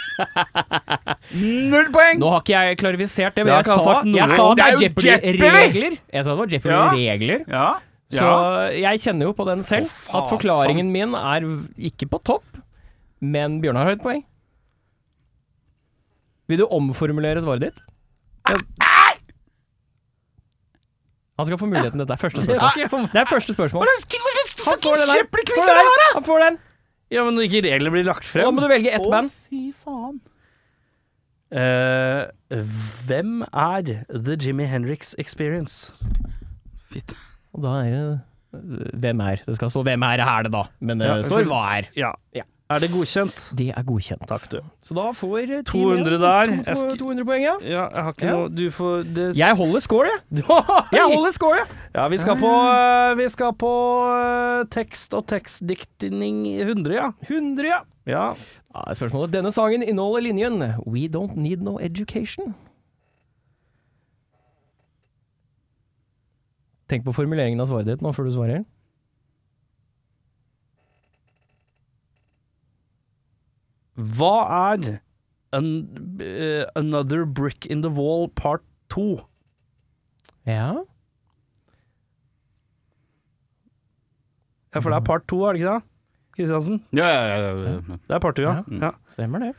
S3: Null poeng!
S4: Nå har ikke jeg klarifisert det, men
S2: Jeg
S4: jeg,
S2: kan ha
S4: sa,
S2: sagt noe.
S4: jeg sa det
S3: Det er
S4: er
S3: jo
S4: Jeopardy-regler. Jeg sa det var Jeopardy-regler.
S3: Ja.
S4: Så jeg kjenner jo på den selv
S3: For
S4: at
S3: faen.
S4: forklaringen min er v- ikke på topp, men Bjørnar har et poeng. Vil du omformulere svaret ditt? Jeg- Han skal få muligheten. Dette er første spørsmål. Det er første spørsmål. Han får den her. Får den her. Han får den.
S2: Ja, men når ikke reglene blir lagt
S4: Og Da må
S2: frem.
S4: du velge ett band.
S3: fy faen.
S2: Eh, hvem er The Jimmy Henriks Experience?
S4: Og da er det eh, Hvem er? Det skal stå 'Hvem er er det', da. Men
S2: Ja,
S4: det står
S2: for-
S4: 'Hva er'.
S2: Ja. Er det godkjent?
S4: Det er godkjent.
S2: Takk, du.
S4: Så da får
S2: 200
S4: eh, teamet
S2: der.
S4: to-
S2: Jeg
S4: to-
S2: sk-
S4: 200 poeng, ja.
S2: Ja, jeg har ikke
S4: Ja.
S2: noe Du får det
S4: Jeg holder score, jeg. Jeg holder score, jeg.
S2: Ja, vi skal på, eh, vi skal på eh, tekst og tekstdiktning i 100, ja.
S4: 100, ja.
S2: Ja.
S4: Da er spørsmålet Denne sangen inneholder linjen We don't need no education. Tenk på formuleringen av svaret ditt nå før du svarer.
S2: Hva er an, eh, Another Brick in the Wall part 2?
S4: Ja.
S2: Ja, for det er part 2, er det ikke det? Kristiansen?
S3: Ja, ja, ja, ja, ja.
S2: Det er part 2, ja. ja.
S4: Stemmer det.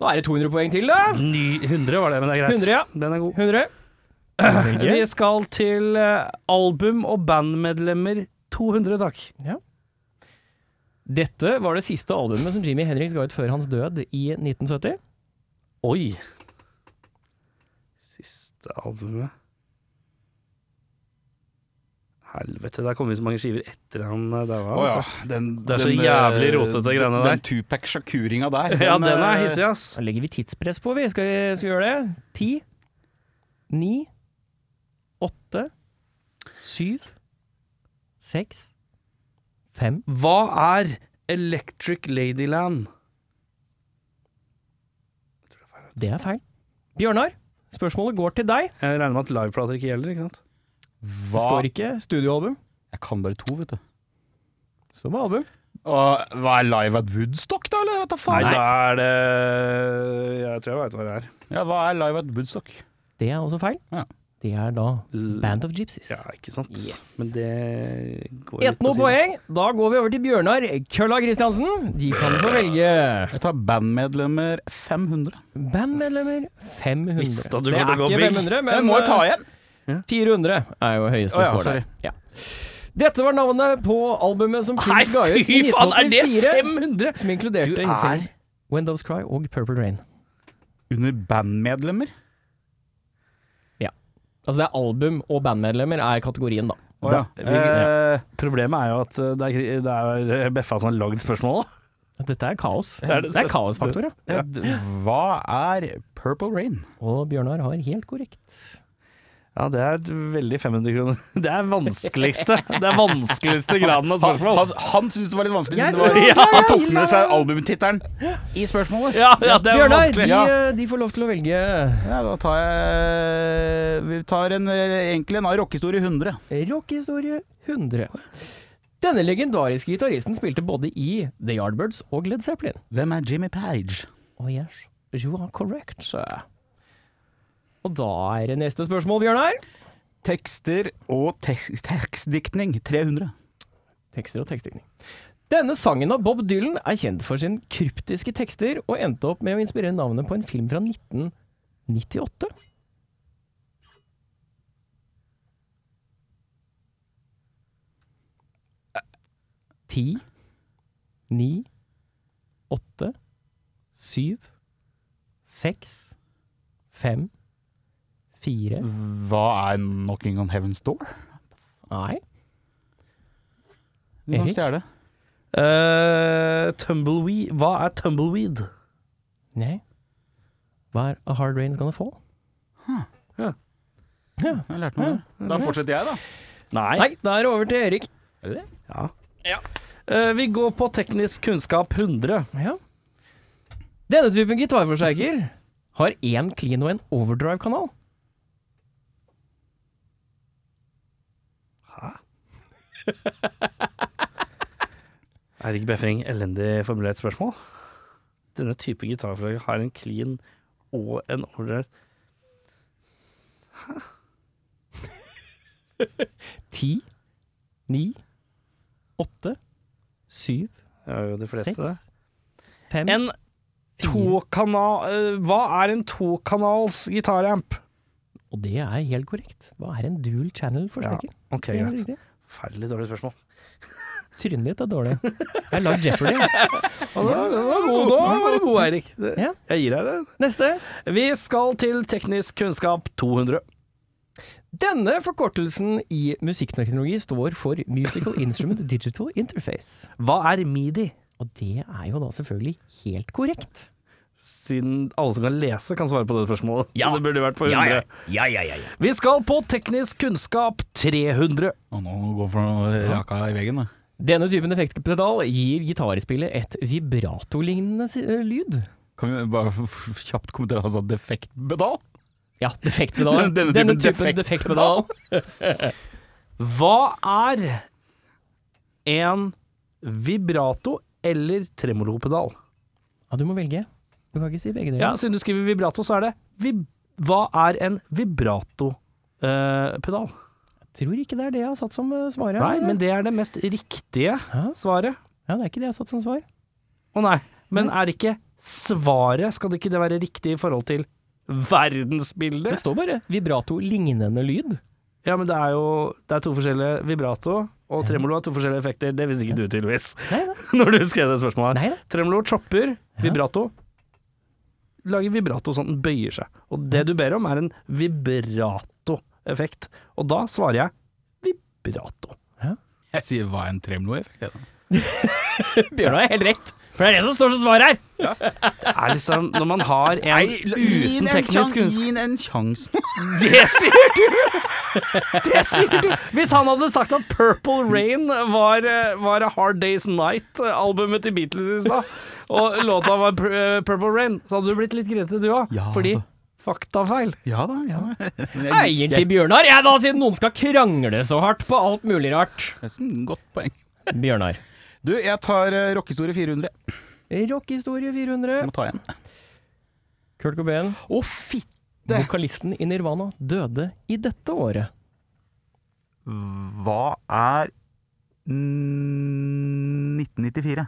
S4: Da er det 200 poeng til, da.
S2: Ny 100 var det, men det er greit.
S4: 100, ja.
S2: Den er god.
S4: 100.
S2: Vi skal til eh, album- og bandmedlemmer 200, takk.
S4: Dette var det siste albumet som Jimmy Henriks ga ut før hans død i 1970.
S2: Oi. Siste albumet Helvete, der kom vi så mange skiver etter han eh, daua.
S3: Å ja. Den,
S2: Det er så
S3: den, eh,
S2: jævlig rotete greiene
S3: den-
S2: der.
S3: Den Tupac-sjakuringa der.
S2: Ja, den
S3: eh,
S2: er hissig, ass.
S4: Da legger vi tidspress på, vi. Skal vi, skal vi gjøre det? Ti, ni, åtte, syv, seks, fem
S2: Hva er Electric Ladyland?
S4: Det er feil. Bjørnar, spørsmålet går til deg.
S2: Jeg regner med at liveplater ikke gjelder, ikke sant?
S4: Det
S3: Hva?
S4: står ikke studioalbum
S3: Jeg kan bare to, vet du.
S4: som album.
S3: Og hva er Live at Woodstock, da, eller? Hva
S2: Nei,
S3: faen?
S2: da er det Jeg tror jeg veit hva det er.
S3: Ja, hva er Live at Woodstock?
S4: Det er også feil.
S3: Ja.
S4: Det er da
S2: L-
S4: Band of Gypsies.
S2: Ja, ikke sant?
S4: Yes.
S2: Men det går litt
S4: Ett noe
S2: på siden.
S4: poeng. Da går vi over til Bjørnar Kølla Kristiansen. De kan få velge
S3: Jeg tar bandmedlemmer 500.
S4: bandmedlemmer 500.
S2: Visste at du
S4: det
S2: kom til å
S4: er
S2: gå
S4: ikke
S2: big.
S4: 500,
S3: Jeg
S4: men eh,
S3: må jo ta igjen!
S4: 400 er jo høyeste
S3: Å ja,
S4: score
S3: sorry.
S4: der. Ja. Dette var navnet på albumet som
S2: Nei,
S4: Kings ga ut i
S2: fy faen, er det
S4: 1984,
S2: 500?!
S4: som
S2: Du
S4: inkluderte
S2: er-
S4: innsengen When Doves Cry og Purple Rain.
S3: Under bandmedlemmer?
S4: Altså det er album og bandmedlemmer er kategorien, da.
S3: Å ja.
S2: Da-
S3: Eh,
S2: Problemet er jo at eh, det er, det er Beffa som har lagd spørsmålet.
S4: Altså, Dette er kaos. Det
S2: er
S4: er,
S2: det-
S4: kaosfaktor, ja.
S3: eh, d- hva er Purple Rain?
S4: Og Bjørnar har helt korrekt.
S2: Ja, det er et veldig 500 kroner. Det er vanskeligste Det er vanskeligste graden av
S3: Han,
S2: spørsmål.
S3: han, han syntes det var litt vanskelig,
S4: Jeg
S3: siden det var-
S4: synes det var-
S3: ja, han tok med seg albumtittelen i spørsmålet.
S2: Ja, ja, det er
S4: Bjørnar,
S2: vanskelig.
S4: de,
S3: Ja.
S4: eh, de får lov til å velge
S3: Ja, da tar jeg Vi tar en, eh, egentlig en av rockehistorie 100.
S4: Rockehistorie 100. Denne legendariske gitaristen spilte både i The Yardbirds og Led Zeppelin.
S3: Hvem er Jimmy Page?
S4: Oh yes, you are correct, sir. Og da er det neste spørsmål, Bjørnar.
S3: Tekster og tek tekstdiktning 300.
S4: Tekster og tekstdikning. Denne sangen av Bob Dylan er kjent for sine kryptiske tekster, og endte opp med å inspirere navnet på en film fra 1998. Ti, ni, åtte, syv, seks, fem, fire
S3: Hva er 'Knocking on Heaven's Door'?
S4: Nei.
S3: Du kan
S4: Erik?
S3: stjele.
S2: Eh, tumbleweed. Hva er tumbleweed?
S4: Nei. Hva er A Hard Rain's Gonna Fall?
S3: Jeg lærte noe. der. Da fortsetter jeg, da.
S2: Nei.
S4: Nei, da er det over til Erik.
S2: Ja. Eh, vi går på teknisk kunnskap 100.
S4: Ja. Denne typen gitarforsterker har én clean og en overdrive-kanal.
S2: Eirik Befring, elendig formulert spørsmål. Denne type gitarforslag har en clean og en overdrive.
S4: Ti, ni, åtte, syv,
S2: Det er jo de fleste, det.
S4: seks, fem
S2: En tokanal eh, Hva er en tokanals gitaramp?
S4: Og det er helt korrekt. Hva er en dual channel-forsterker?
S2: OK,
S4: Det er helt
S2: greit.
S4: riktig.
S2: Forferdelig dårlig spørsmål.
S4: Trynet ditt er dårlig. Jeg har lagd Jeopardy.
S2: Ja, da- da var god, da var du god, Eirik. Det-
S4: Ja.
S2: Jeg gir deg det.
S4: Neste.
S2: Vi skal til teknisk kunnskap 200.
S4: Denne forkortelsen i musikkteknologi står for Musical Instrument Digital Interface.
S2: Hva er midi?
S4: Og det er jo da selvfølgelig helt korrekt.
S2: Siden alle som kan lese, kan svare på det spørsmålet.
S4: Ja.
S2: Det burde vært på 100.
S4: ja, ja, ja, ja.
S2: Vi skal på teknisk kunnskap 300.
S3: Å, nå går for noe raka i veggen, da.
S4: Denne typen effektpedal gir gitarspillet et vibratolignende si- eh, lyd.
S3: Kan vi bare f- f- kjapt kommentere altså defektpedal?
S4: Ja, defektpedal.
S3: Denne typen
S4: defektpedal.
S2: Hva er en vibrato eller tremolopedal?
S4: Ja, du må velge. Du kan ikke si begge deler.
S2: Ja, siden du skriver vibrato, så er det vib Hva er en vibrato-pedal?
S4: Jeg tror ikke det er det jeg har satt som eh, svar her.
S2: nei,
S4: skjønner
S2: men
S4: du.
S2: det er det mest riktige
S4: Hæ?
S2: svaret.
S4: Ja, det er ikke det jeg har satt som svar.
S2: Å nei, men er det ikke svaret? Skal det ikke det være riktig i forhold til
S4: Det
S2: verdensbildet?
S4: står bare vibrato-lignende lyd.
S2: Ja, men det er jo det er to forskjellige vibrato, og tremolo har to forskjellige effekter. Det visste ikke du tydeligvis
S4: Nei da.
S2: når du skrev det spørsmålet. her.
S4: Nei da.
S2: Tremolo chopper, vibrato. Lager vibrato sånn den bøyer seg. Og det du ber om, er en vibrato-effekt. Og da svarer jeg vibrato.
S3: Jeg sier hva er en tremoloeffekt? jeg, da?
S4: Bjørnar har helt rett. For det er det som står som svar her!
S2: Det er liksom når man har en
S3: Gi den
S2: uten
S3: en sjanse-
S2: teknisk kunnskap
S3: Gi den en sjanse nå.
S2: Det sier du! Det sier du! Hvis han hadde sagt at Purple Rain var, eh, var A Hard Day's Night-albumet til Beatles i stad, og låta var Pur- eh, Purple Rain, så hadde du blitt litt grinete du òg.
S3: Ja.
S2: Fordi faktafeil.
S3: Ja da, ja da. Men jeg-
S4: Eier til Bjørnar, jeg da, siden noen skal krangle så hardt på alt mulig rart.
S3: Nesten godt poeng.
S4: Bjørnar.
S3: Du, jeg tar uh, rockehistorie 400.
S4: Rockhistorie
S3: Jeg
S4: 400.
S3: må ta igjen.
S4: Kurt Cobain,
S3: Å, fitte!
S4: vokalisten i Nirvana, døde i dette året.
S3: Hva er 1994?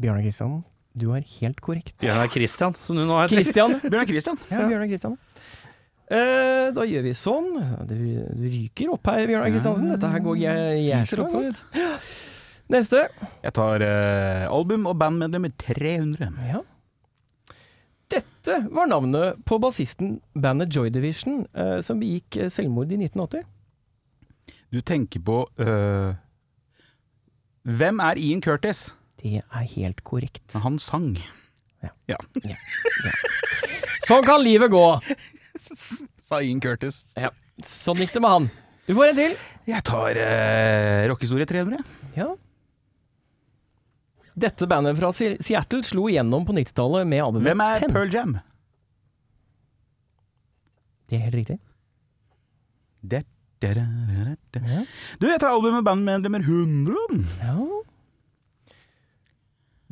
S4: Bjørnar Kristian, du har helt korrekt.
S2: Bjørnar Christian, som du nå heter.
S4: Kristian.
S3: Bjørnar Christian.
S4: Ja, Bjørnar Kristian. Eh, da gjør vi sånn. Du, du ryker opp her, Bjørnar Kristiansen. Dette her går jeg, jeg
S3: Fiser opp
S4: godt. Neste.
S3: Jeg tar eh, album og bandmedlemmer 300.
S4: Ja. Dette var navnet på bassisten bandet Joy Division, eh, som begikk eh, selvmord i 1980.
S3: Du tenker på eh, Hvem er Ian Curtis?
S4: Det er helt korrekt.
S3: Han sang.
S4: Sånn kan livet gå.
S3: Sa Ian Curtis.
S4: Sånn gikk det med han. Du får en til.
S3: Jeg tar uh, rockehistorie 300.
S4: Ja. Dette bandet fra Se- Seattle slo igjennom på 90-tallet med albumet
S3: Hvem er
S4: Ten.
S3: Pearl Jam?
S4: Det er helt riktig.
S3: Der, der, der, der.
S4: Ja.
S3: Du, jeg tar albumet bandmedlemmer 100.
S4: Ja.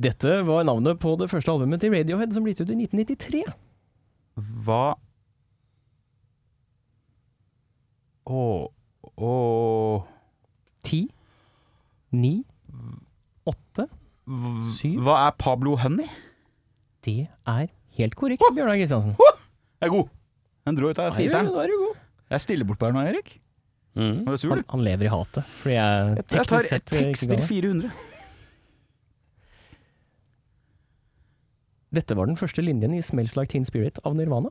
S4: Dette var navnet på det første albumet til Radiohead som ble gitt ut i 1993.
S3: Hva Å Å
S4: Ti, ni, åtte Syv.
S3: Hva er Pablo Honey?
S4: Det er helt korrekt, Bjørnar Kristiansen.
S3: Jeg er god. Den dro ut av fiseren.
S4: Da er du god.
S3: Jeg stiller bort på her nå, Erik. Nå er du sur,
S4: Han,
S3: du.
S4: han lever i hatet, fordi jeg
S3: Jeg tar
S4: teknisk sett eh, ikke ga
S3: tekster
S4: det.
S3: 400.
S4: Dette var den første linjen i 'Smells Like Teen Spirit' av Nirvana.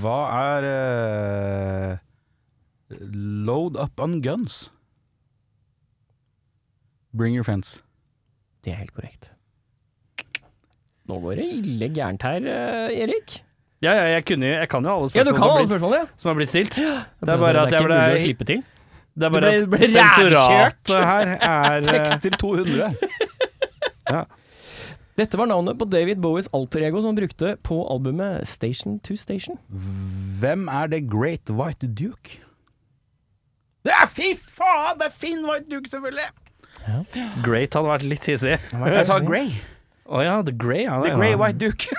S3: Hva er eh, Load up on guns. Bring your friends.
S4: Det er helt korrekt. Nå går det ille gærent her, eh, Erik.
S2: Ja, ja, jeg, kunne, jo- jeg kan jo alle
S4: Ja, du
S2: spørsmål,
S4: kan
S2: som,
S4: alle
S2: er blitt,
S4: spørsmålene.
S2: som er blitt stilt.
S4: Ja.
S2: Det er bare at jeg
S4: Det er ikke mulig å
S2: ble,
S4: slippe til.
S2: det er bare
S4: ble- ble
S2: at sensoratet her er eh,
S3: Tekster 200.
S4: Dette var navnet på David Bowies alter ego som han brukte på albumet Station to Station.
S3: Hvem er The Great White Duke? Det er fy faen! Det er Finn White Duke, selvfølgelig!
S2: Great hadde vært litt hissig.
S3: Jeg sa Grey.
S2: Å ja, The Grey. Ja,
S3: The
S2: ja.
S3: Grey White Duke.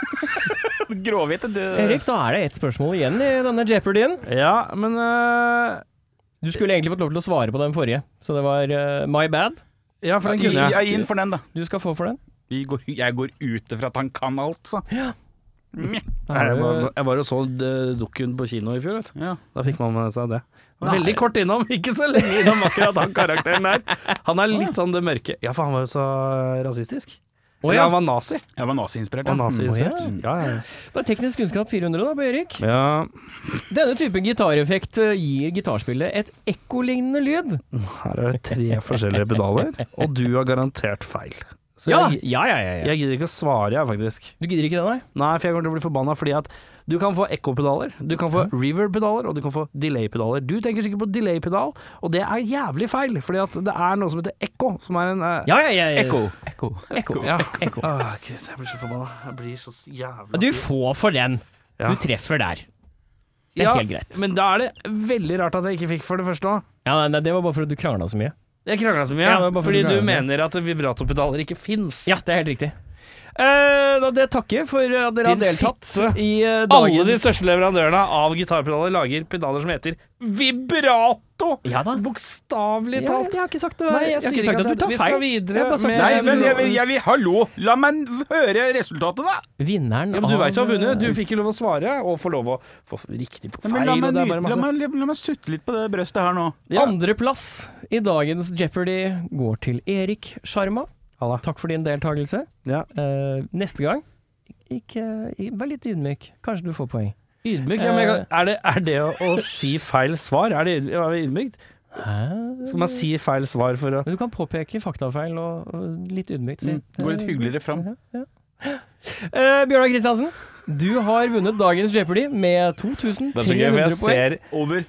S3: Gråhvite du.
S4: Erik, da er det ett spørsmål igjen i denne jeopardyen.
S2: Ja, men eh,
S4: Du skulle egentlig fått lov til å svare på den forrige, så det var eh, my bad.
S2: Ja, for den
S3: Gi-
S2: kunne jeg.
S3: Jeg gir den for den, da.
S4: Du skal få for den.
S3: Vi går, jeg går ut ifra at han kan alt, så.
S4: Da
S2: Nei,
S4: har
S2: Jeg
S4: du-
S2: var, jeg var og så eh, dukken på kino i fjor, vet du.
S3: Ja.
S2: Da fikk man med seg det.
S4: Nei.
S2: Veldig kort innom, ikke så lenge innom akkurat han karakteren der. Han er litt sånn det mørke. Ja, for han var jo så eh, rasistisk.
S4: Å
S2: Eller
S4: ja.
S2: han var nazi.
S3: Jeg var naziinspirert.
S2: Han
S3: ja.
S2: var naziinspirert.
S4: Mm,
S2: Ja, ja.
S4: Det er teknisk kunnskap 400 da, på Erik.
S2: ja.
S4: Denne typen gitareffekt eh, gir gitarspillet et ekkolignende lyd.
S2: Her er det tre forskjellige pedaler, og du har garantert feil. Så
S4: Ja,
S2: jeg,
S4: ja, ja. ja, ja.
S2: jeg gidder ikke å svare, jeg, faktisk.
S4: Du gidder ikke det, nei?
S2: Nei, for jeg kommer til å bli forbanna fordi at Du kan få ekkopedaler, du kan få reverb-pedaler, og du kan få delay-pedaler. Du tenker sikkert på delay-pedal, og det er jævlig feil, fordi at det er noe som heter ekko, som er en eh,
S4: Ja, ja, ja, ja.
S2: Ekko.
S3: Ekko.
S4: Ekko.
S2: Ja.
S4: Ekko.
S2: Åh, Gud, jeg blir så forbanna. Jeg blir så jævla
S4: Du får for den.
S2: Ja.
S4: Du treffer der. Det er helt greit.
S2: Men da er det veldig rart at jeg ikke fikk for det første òg.
S4: Ja, nei, nei, det var bare fordi du krangla så mye.
S2: Jeg krangla så mye,
S4: Ja, det var bare fordi
S2: fordi
S4: du
S2: du
S4: kranglet så mye.
S2: mener at vibratopedaler ikke fins.
S4: Ja, det er helt riktig. Eh, da det takker for at dere har
S2: Din
S4: deltatt
S2: fitte.
S4: i eh, dagens
S2: Alle de største leverandørene av gitarpedaler lager pedaler som heter vibrato!
S4: Ja da.
S2: Bokstavelig
S4: Ja,
S2: talt.
S4: jeg har ikke sagt, det var- jeg har
S2: sier
S4: ikke sagt at
S2: jeg-
S4: du tar
S2: Vi
S4: feil.
S2: skal
S4: Jeg har
S2: videre
S4: bare sagt
S2: med-
S3: Nei, men jeg, vil- jeg vil Hallo! La meg høre resultatet, da!
S4: Vinneren
S2: ja, men Du veit jo
S4: av
S2: har vunnet. Du fikk jo lov å svare, og får lov å få riktig på
S3: Ja,
S2: feil.
S3: men la,
S2: og
S3: meg
S2: det er
S3: nyte,
S2: bare
S3: la,
S2: masse.
S3: meg, la meg sutte litt på det brøstet her nå.
S2: Ja.
S4: Andreplass i dagens Jeopardy går til Erik Sjarma.
S2: Halla.
S4: Takk for din deltakelse.
S2: Ja.
S4: Eh, neste gang, ikke, vær litt ydmyk. Kanskje du får poeng.
S2: Ydmyk? Ja,
S4: Eh.
S2: men jeg kan- er, det, er det å, å si feil svar? Er det er det ydmykt? Skal man si feil svar for å
S4: Men du kan påpeke faktafeil og, og Mm, litt ydmykt. Si.
S3: Gå litt hyggeligere fram.
S4: Eh, Bjørnar Kristiansen, du har vunnet dagens Jeopardy med 2300 poeng.
S2: ser
S3: Over.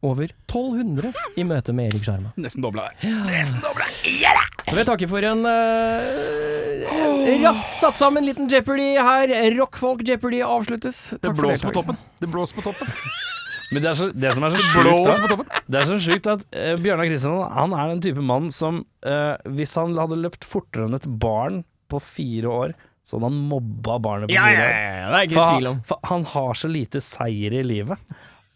S4: Over 1200 i møte med Erik Sjarma.
S3: Nesten dobla der.
S4: Så vil jeg takke for en eh, raskt satt sammen liten Jeopardy her. Rockfolk Jeopardy avsluttes.
S3: Det
S4: Takk for
S3: blåser
S4: deltakelsen.
S3: på toppen. Det blåser på toppen.
S2: Men det, er så, det som er så sjukt
S3: Blåser på
S2: da,
S3: toppen.
S2: Det er så sjukt at eh, Bjørnar Kristiansen Han er den type mann som eh, Hvis han hadde løpt fortere enn et barn På fire år Så hadde han mobba barnet på
S4: Ja, ja,
S2: fire år
S4: ja, ja, det er ikke
S2: for,
S4: tvil om.
S2: han- for han har så lite seier i livet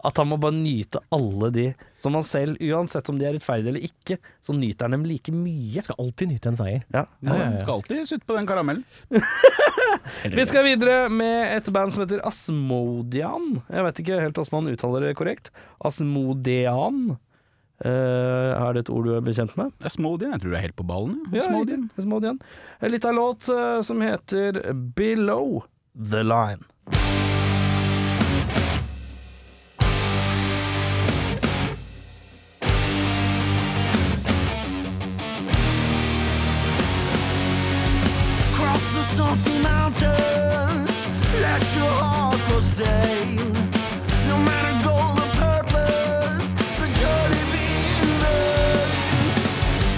S2: At han må bare nyte alle de Som han selv, uansett om de er rettferdige eller ikke Så nyter han dem like mye
S4: Jeg skal alltid nyte en seier.
S2: ja.
S3: Man skal alltid sutte på den karamellen.
S2: Vi skal videre med et band som heter Asmodian. Jeg vet ikke helt hvordan man uttaler det korrekt. Asmodean. Eh, er det et ord du er bekjent med?
S3: Det er Smodien. Jeg tror du er helt på ballen.
S2: Ja,
S3: Smodien.
S2: riktig. Asmodian. En liten låt eh, som heter Below The Line.
S6: Cross the salty mountains, let your heart go stay. No matter goal or purpose, the journey be in vain.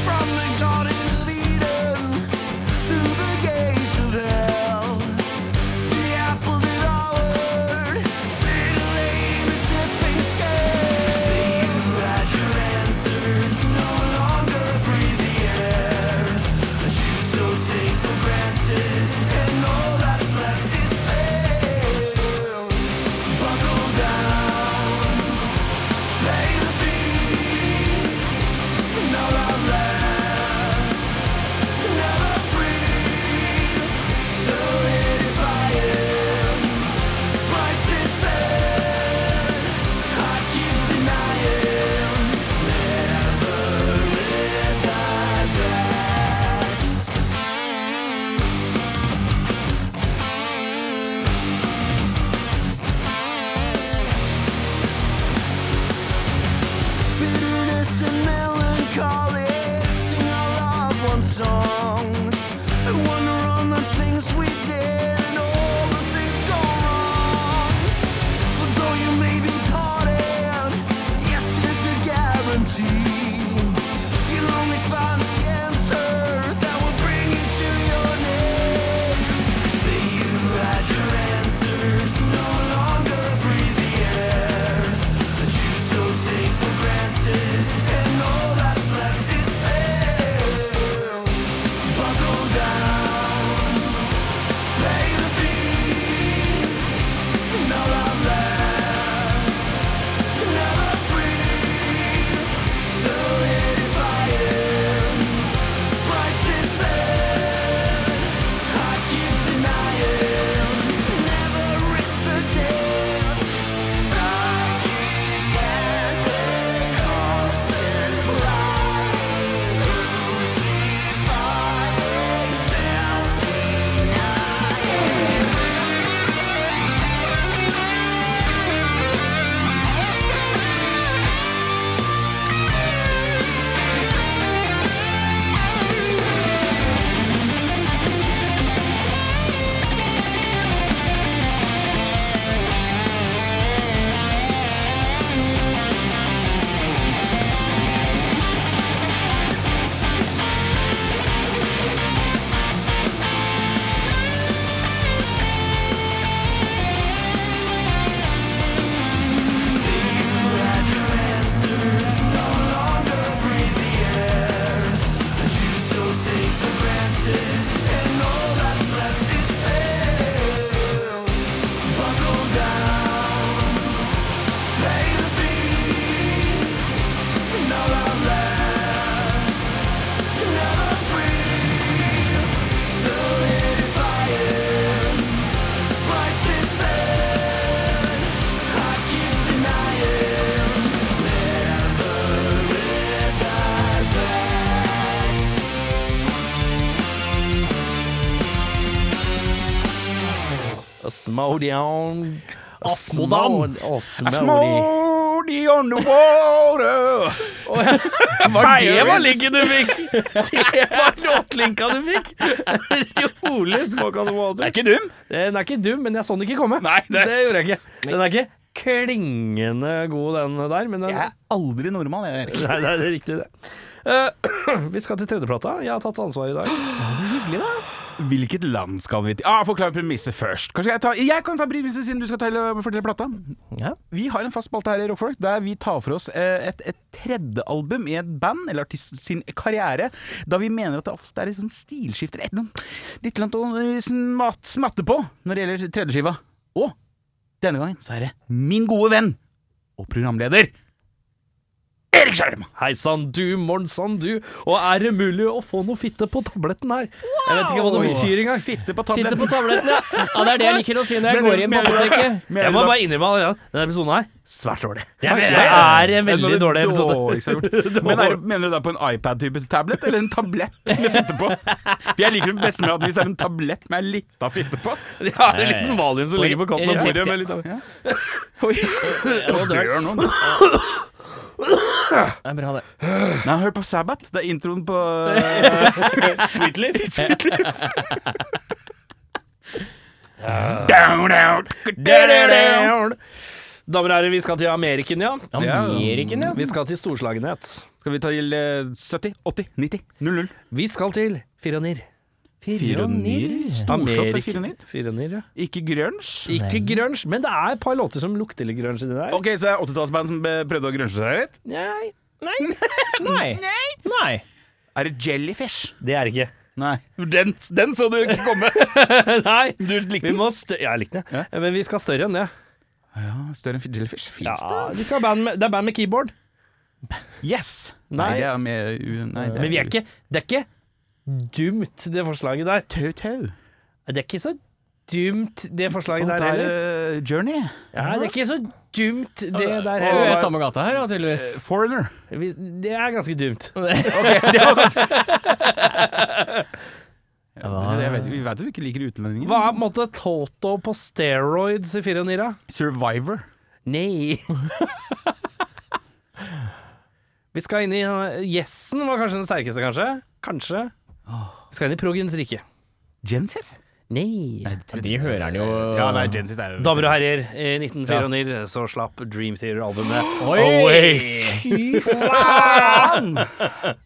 S6: From the garden of Eden, through the gates of hell, the apple did all
S2: Asmodian
S4: Asmodan.
S2: Asmodi.
S3: Smoody on the water!
S2: Var det var linken du fikk? Det var låtlinka du fikk? Rolig småkanonater.
S3: ikke dum.
S2: Den er ikke dum, men jeg så den ikke komme. Nei, det. gjorde jeg ikke. Den er ikke klingende god, den der, men den
S3: Jeg er aldri normal, jeg. Erik.
S2: Nei, nei, det er riktig, det. Eh, vi skal til tredjeplata. Jeg har tatt ansvar i dag. Så hyggelig, da.
S3: Hvilket land skal vi til? Ah, Forklar premisset først. Kanskje jeg, tar, jeg kan ta premisset siden du skal telle, fortelle plata.
S4: Ja.
S3: Vi har en fast spalte her i Rockfolk der vi tar for oss eh, et, et tredje album i et band eller artist sin karriere, da vi mener at det ofte er et sånt stilskifte eller et eller annet, litt eller annet å eh, smat, smatte på når det gjelder tredjeskiva. Og denne gangen så er det min gode venn og programleder Erik Skjerm!
S2: Hei sann du, morn sann du. Og er det mulig å få noe fitte på tabletten her? Jeg vet ikke hva det betyr engang.
S3: Fitte på
S4: Fitte på tabletten, ja. ja. Det er det jeg liker å si når jeg går inn på apoteket.
S2: Jeg må bare innrømme allerede, denne episoden her svært dårlig. Jeg mener,
S3: ja.
S2: det er en veldig dårlig episode.
S3: Men er, mener du da på en iPad-type tablet, eller en tablett med fitte på? For Jeg liker det best med at hvis det er en tablett med litt av fitte på.
S2: Ja, det er en liten valium som ligger på kanten av bordet. Med litt av.
S3: Jeg dør nå. nå.
S4: Det er bra, det.
S3: Nei, hør på Sabbath. Det er introen på Sweet Leaf. Down, down, down, down.
S2: Damer og herrer, vi skal til Ameriken, ja.
S4: Ameriken, ja.
S2: Vi skal til storslagenhet.
S3: Skal vi ta til eh, 70, 80, 90, 00?
S2: Vi skal til Fironir.
S3: Storslått for Fironir.
S2: Fironir, ja.
S3: Ikke grunge.
S2: Ikke grunge, men det er et par låter som lukter litt grunge i det der.
S3: Ok, så det er 80-tallsband som eh, prøvde å grunge seg litt?
S2: Nei,
S4: Nei. Nei. Nei.
S3: Er det Jellyfish?
S2: det er det ikke.
S3: Nei. Den, den så du ikke komme.
S2: Nei,
S3: Du likte
S2: vi må større Ja, jeg likte den.
S3: Ja.
S2: Men vi skal større enn det.
S3: Ja, større enn Jellyfish. Fins
S2: Ja, vi skal ha band med, det er band med keyboard.
S3: Yes!
S2: Nei.
S3: det er med u- nei, det
S2: Men vi er ikke Det er ikke dumt, det forslaget der.
S3: Tau-tau.
S2: Det er ikke så dumt, det forslaget
S3: Og
S2: der
S3: der
S2: heller.
S3: eh, Journey.
S2: Ja, det er ikke så dumt, det der
S4: Du er i
S2: heller.
S4: samme gata her, ja, tydeligvis.
S3: Foreigner.
S2: Vi- Det er ganske dumt.
S3: Ja, det- jeg vet, vi vet jo vi ikke liker utlendinger.
S2: Hva er på en måte Toto på steroids i 94?
S3: Survivor.
S2: Nei. Vi skal inn i eh, Yessen var kanskje den sterkeste, kanskje? Kanskje. Vi skal inn i proggens rike.
S3: Genesis?
S2: Nei.
S4: De hører den jo
S3: Ja, nei, Genesis er jo
S2: Damer og herrer, i 1994 så slapp Dream Theater-albumet
S4: Oi!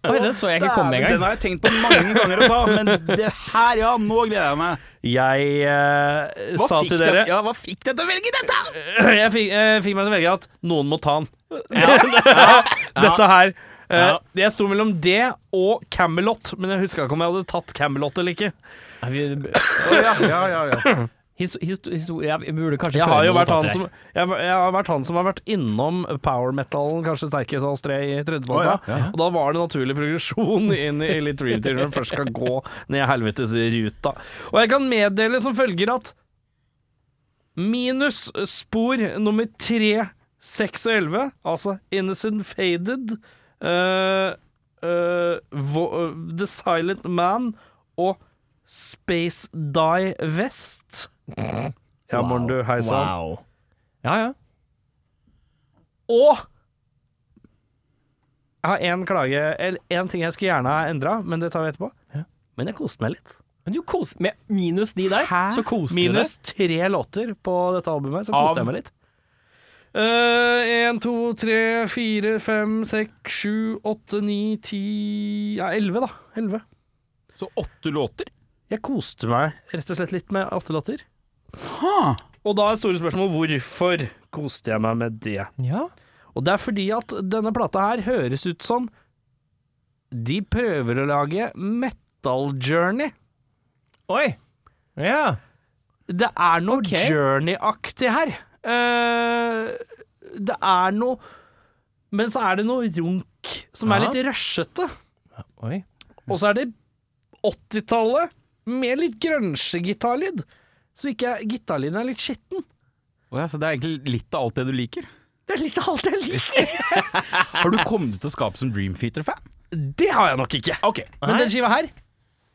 S4: Oi, den så jeg ikke komme
S3: Den
S4: engang.
S3: har jeg tenkt på mange ganger å ta, men det her, ja, nå gleder jeg meg.
S2: Jeg eh, sa til dere
S3: ja, hva fikk deg til å velge dette?
S2: Jeg fikk, jeg fikk meg til å velge at noen må ta den. Dette her. eh, Jeg sto mellom det og Camelot, men jeg huska ikke om jeg hadde tatt Camelot eller ikke.
S4: Nei, vi-
S3: ja, ja, ja, ja.
S4: histo- histo- histo- ja, Vi burde kanskje
S2: Jeg
S4: føre
S2: har jo
S4: noen
S2: vært han
S4: notater
S2: som,
S4: her.
S2: jeg, jeg har vært han som har vært innom power metal-en kanskje sterkest av oss tre i tredjeplata.
S3: Å, ja, ja, ja.
S2: Og da var det naturlig progresjon inn i Elite Realty når du først skal gå ned helvetes ruta. Og jeg kan meddele som følger at minus spor nummer tre, seks og elleve, altså Innocent Faded, eh, eh, Vo eh, The Silent Man og Space Die West. Ja, Morn, du. Hei sann.
S4: Wow. Ja, ja.
S2: Og jeg har én klage, eller én ting jeg skulle gjerne ha endra, men det tar vi etterpå. Men jeg koste meg litt.
S4: Men du kos, med minus de der, så koste
S2: Minus tre låter på dette albumet, så
S3: Av-
S2: koste jeg meg litt. Én, to, tre, fire, fem, seks, sju, åtte, ni, ti Ja, elleve, da. Elleve.
S3: Så åtte låter?
S2: Jeg koste meg rett og slett litt med åtte låter.
S3: Ha.
S2: Og da er store spørsmål hvorfor koste jeg meg med det?
S4: deg. Ja.
S2: Og det er fordi at denne plata her høres ut som de prøver å lage Metal Journey.
S4: Oi. Ja.
S2: Det er noe
S4: Ok.
S2: Journey-aktig her. Eh, det er noe Men så er det noe runk som er
S4: Ja.
S2: litt rushete.
S4: Oi.
S2: Og så er det 80-tallet med litt grønsje gitarlyd. Så ikke gitarlyden er litt skitten.
S3: Å ja, så det er egentlig litt av alt det du liker.
S2: Det er liksom alt jeg liker.
S3: Har du kommet ut å skape som Dream Theater-fan?
S2: Det har jeg nok ikke.
S3: Ok.
S2: Men den skiva her,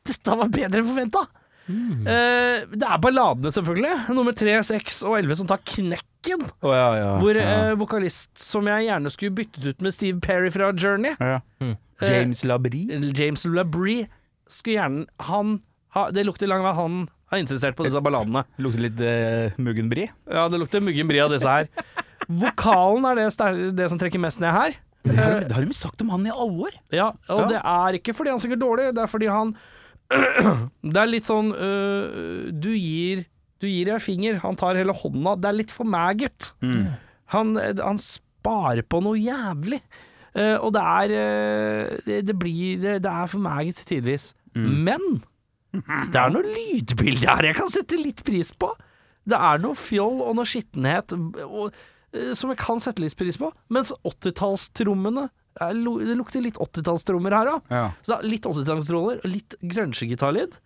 S2: dette var bedre enn forventa. Eh, det er balladene, selvfølgelig. Nummer tre, seks og elleve som tar knekken. Hvor eh, vokalist som jeg gjerne skulle byttet ut med Steve Perry fra Journey,
S3: Ja.
S4: Mm.
S2: eh,
S3: James Labrie.
S2: James Labrie, skulle gjerne Han ha, Det lukter lang vei han har insistert på disse balladene.
S3: Lukter litt uh, muggenbri.
S2: Ja, det lukter muggen bri av disse her. Vokalen er det, ster- det som trekker mest ned her.
S3: Det har, det har de sagt om han i alle år.
S2: Ja, og
S3: Ja.
S2: det er ikke fordi han synger dårlig, det er fordi han Det er litt sånn øh, Du gir Du gir ei finger, han tar hele hånda. Det er litt for maggot. Han, han sparer på noe jævlig. Eh, og det er eh, det, det blir Det, det er for maggot tidvis. Men det er noe lydbilde her jeg kan sette litt pris på. Det er noe fjoll og noe skittenhet og, eh, som jeg kan sette litt pris på. Mens 80-tallstrommene er lo- Det lukter litt 80-tallstrommer her òg.
S3: Ja.
S2: Så det er litt 80-tallstroller og litt grunge-gitarlyd.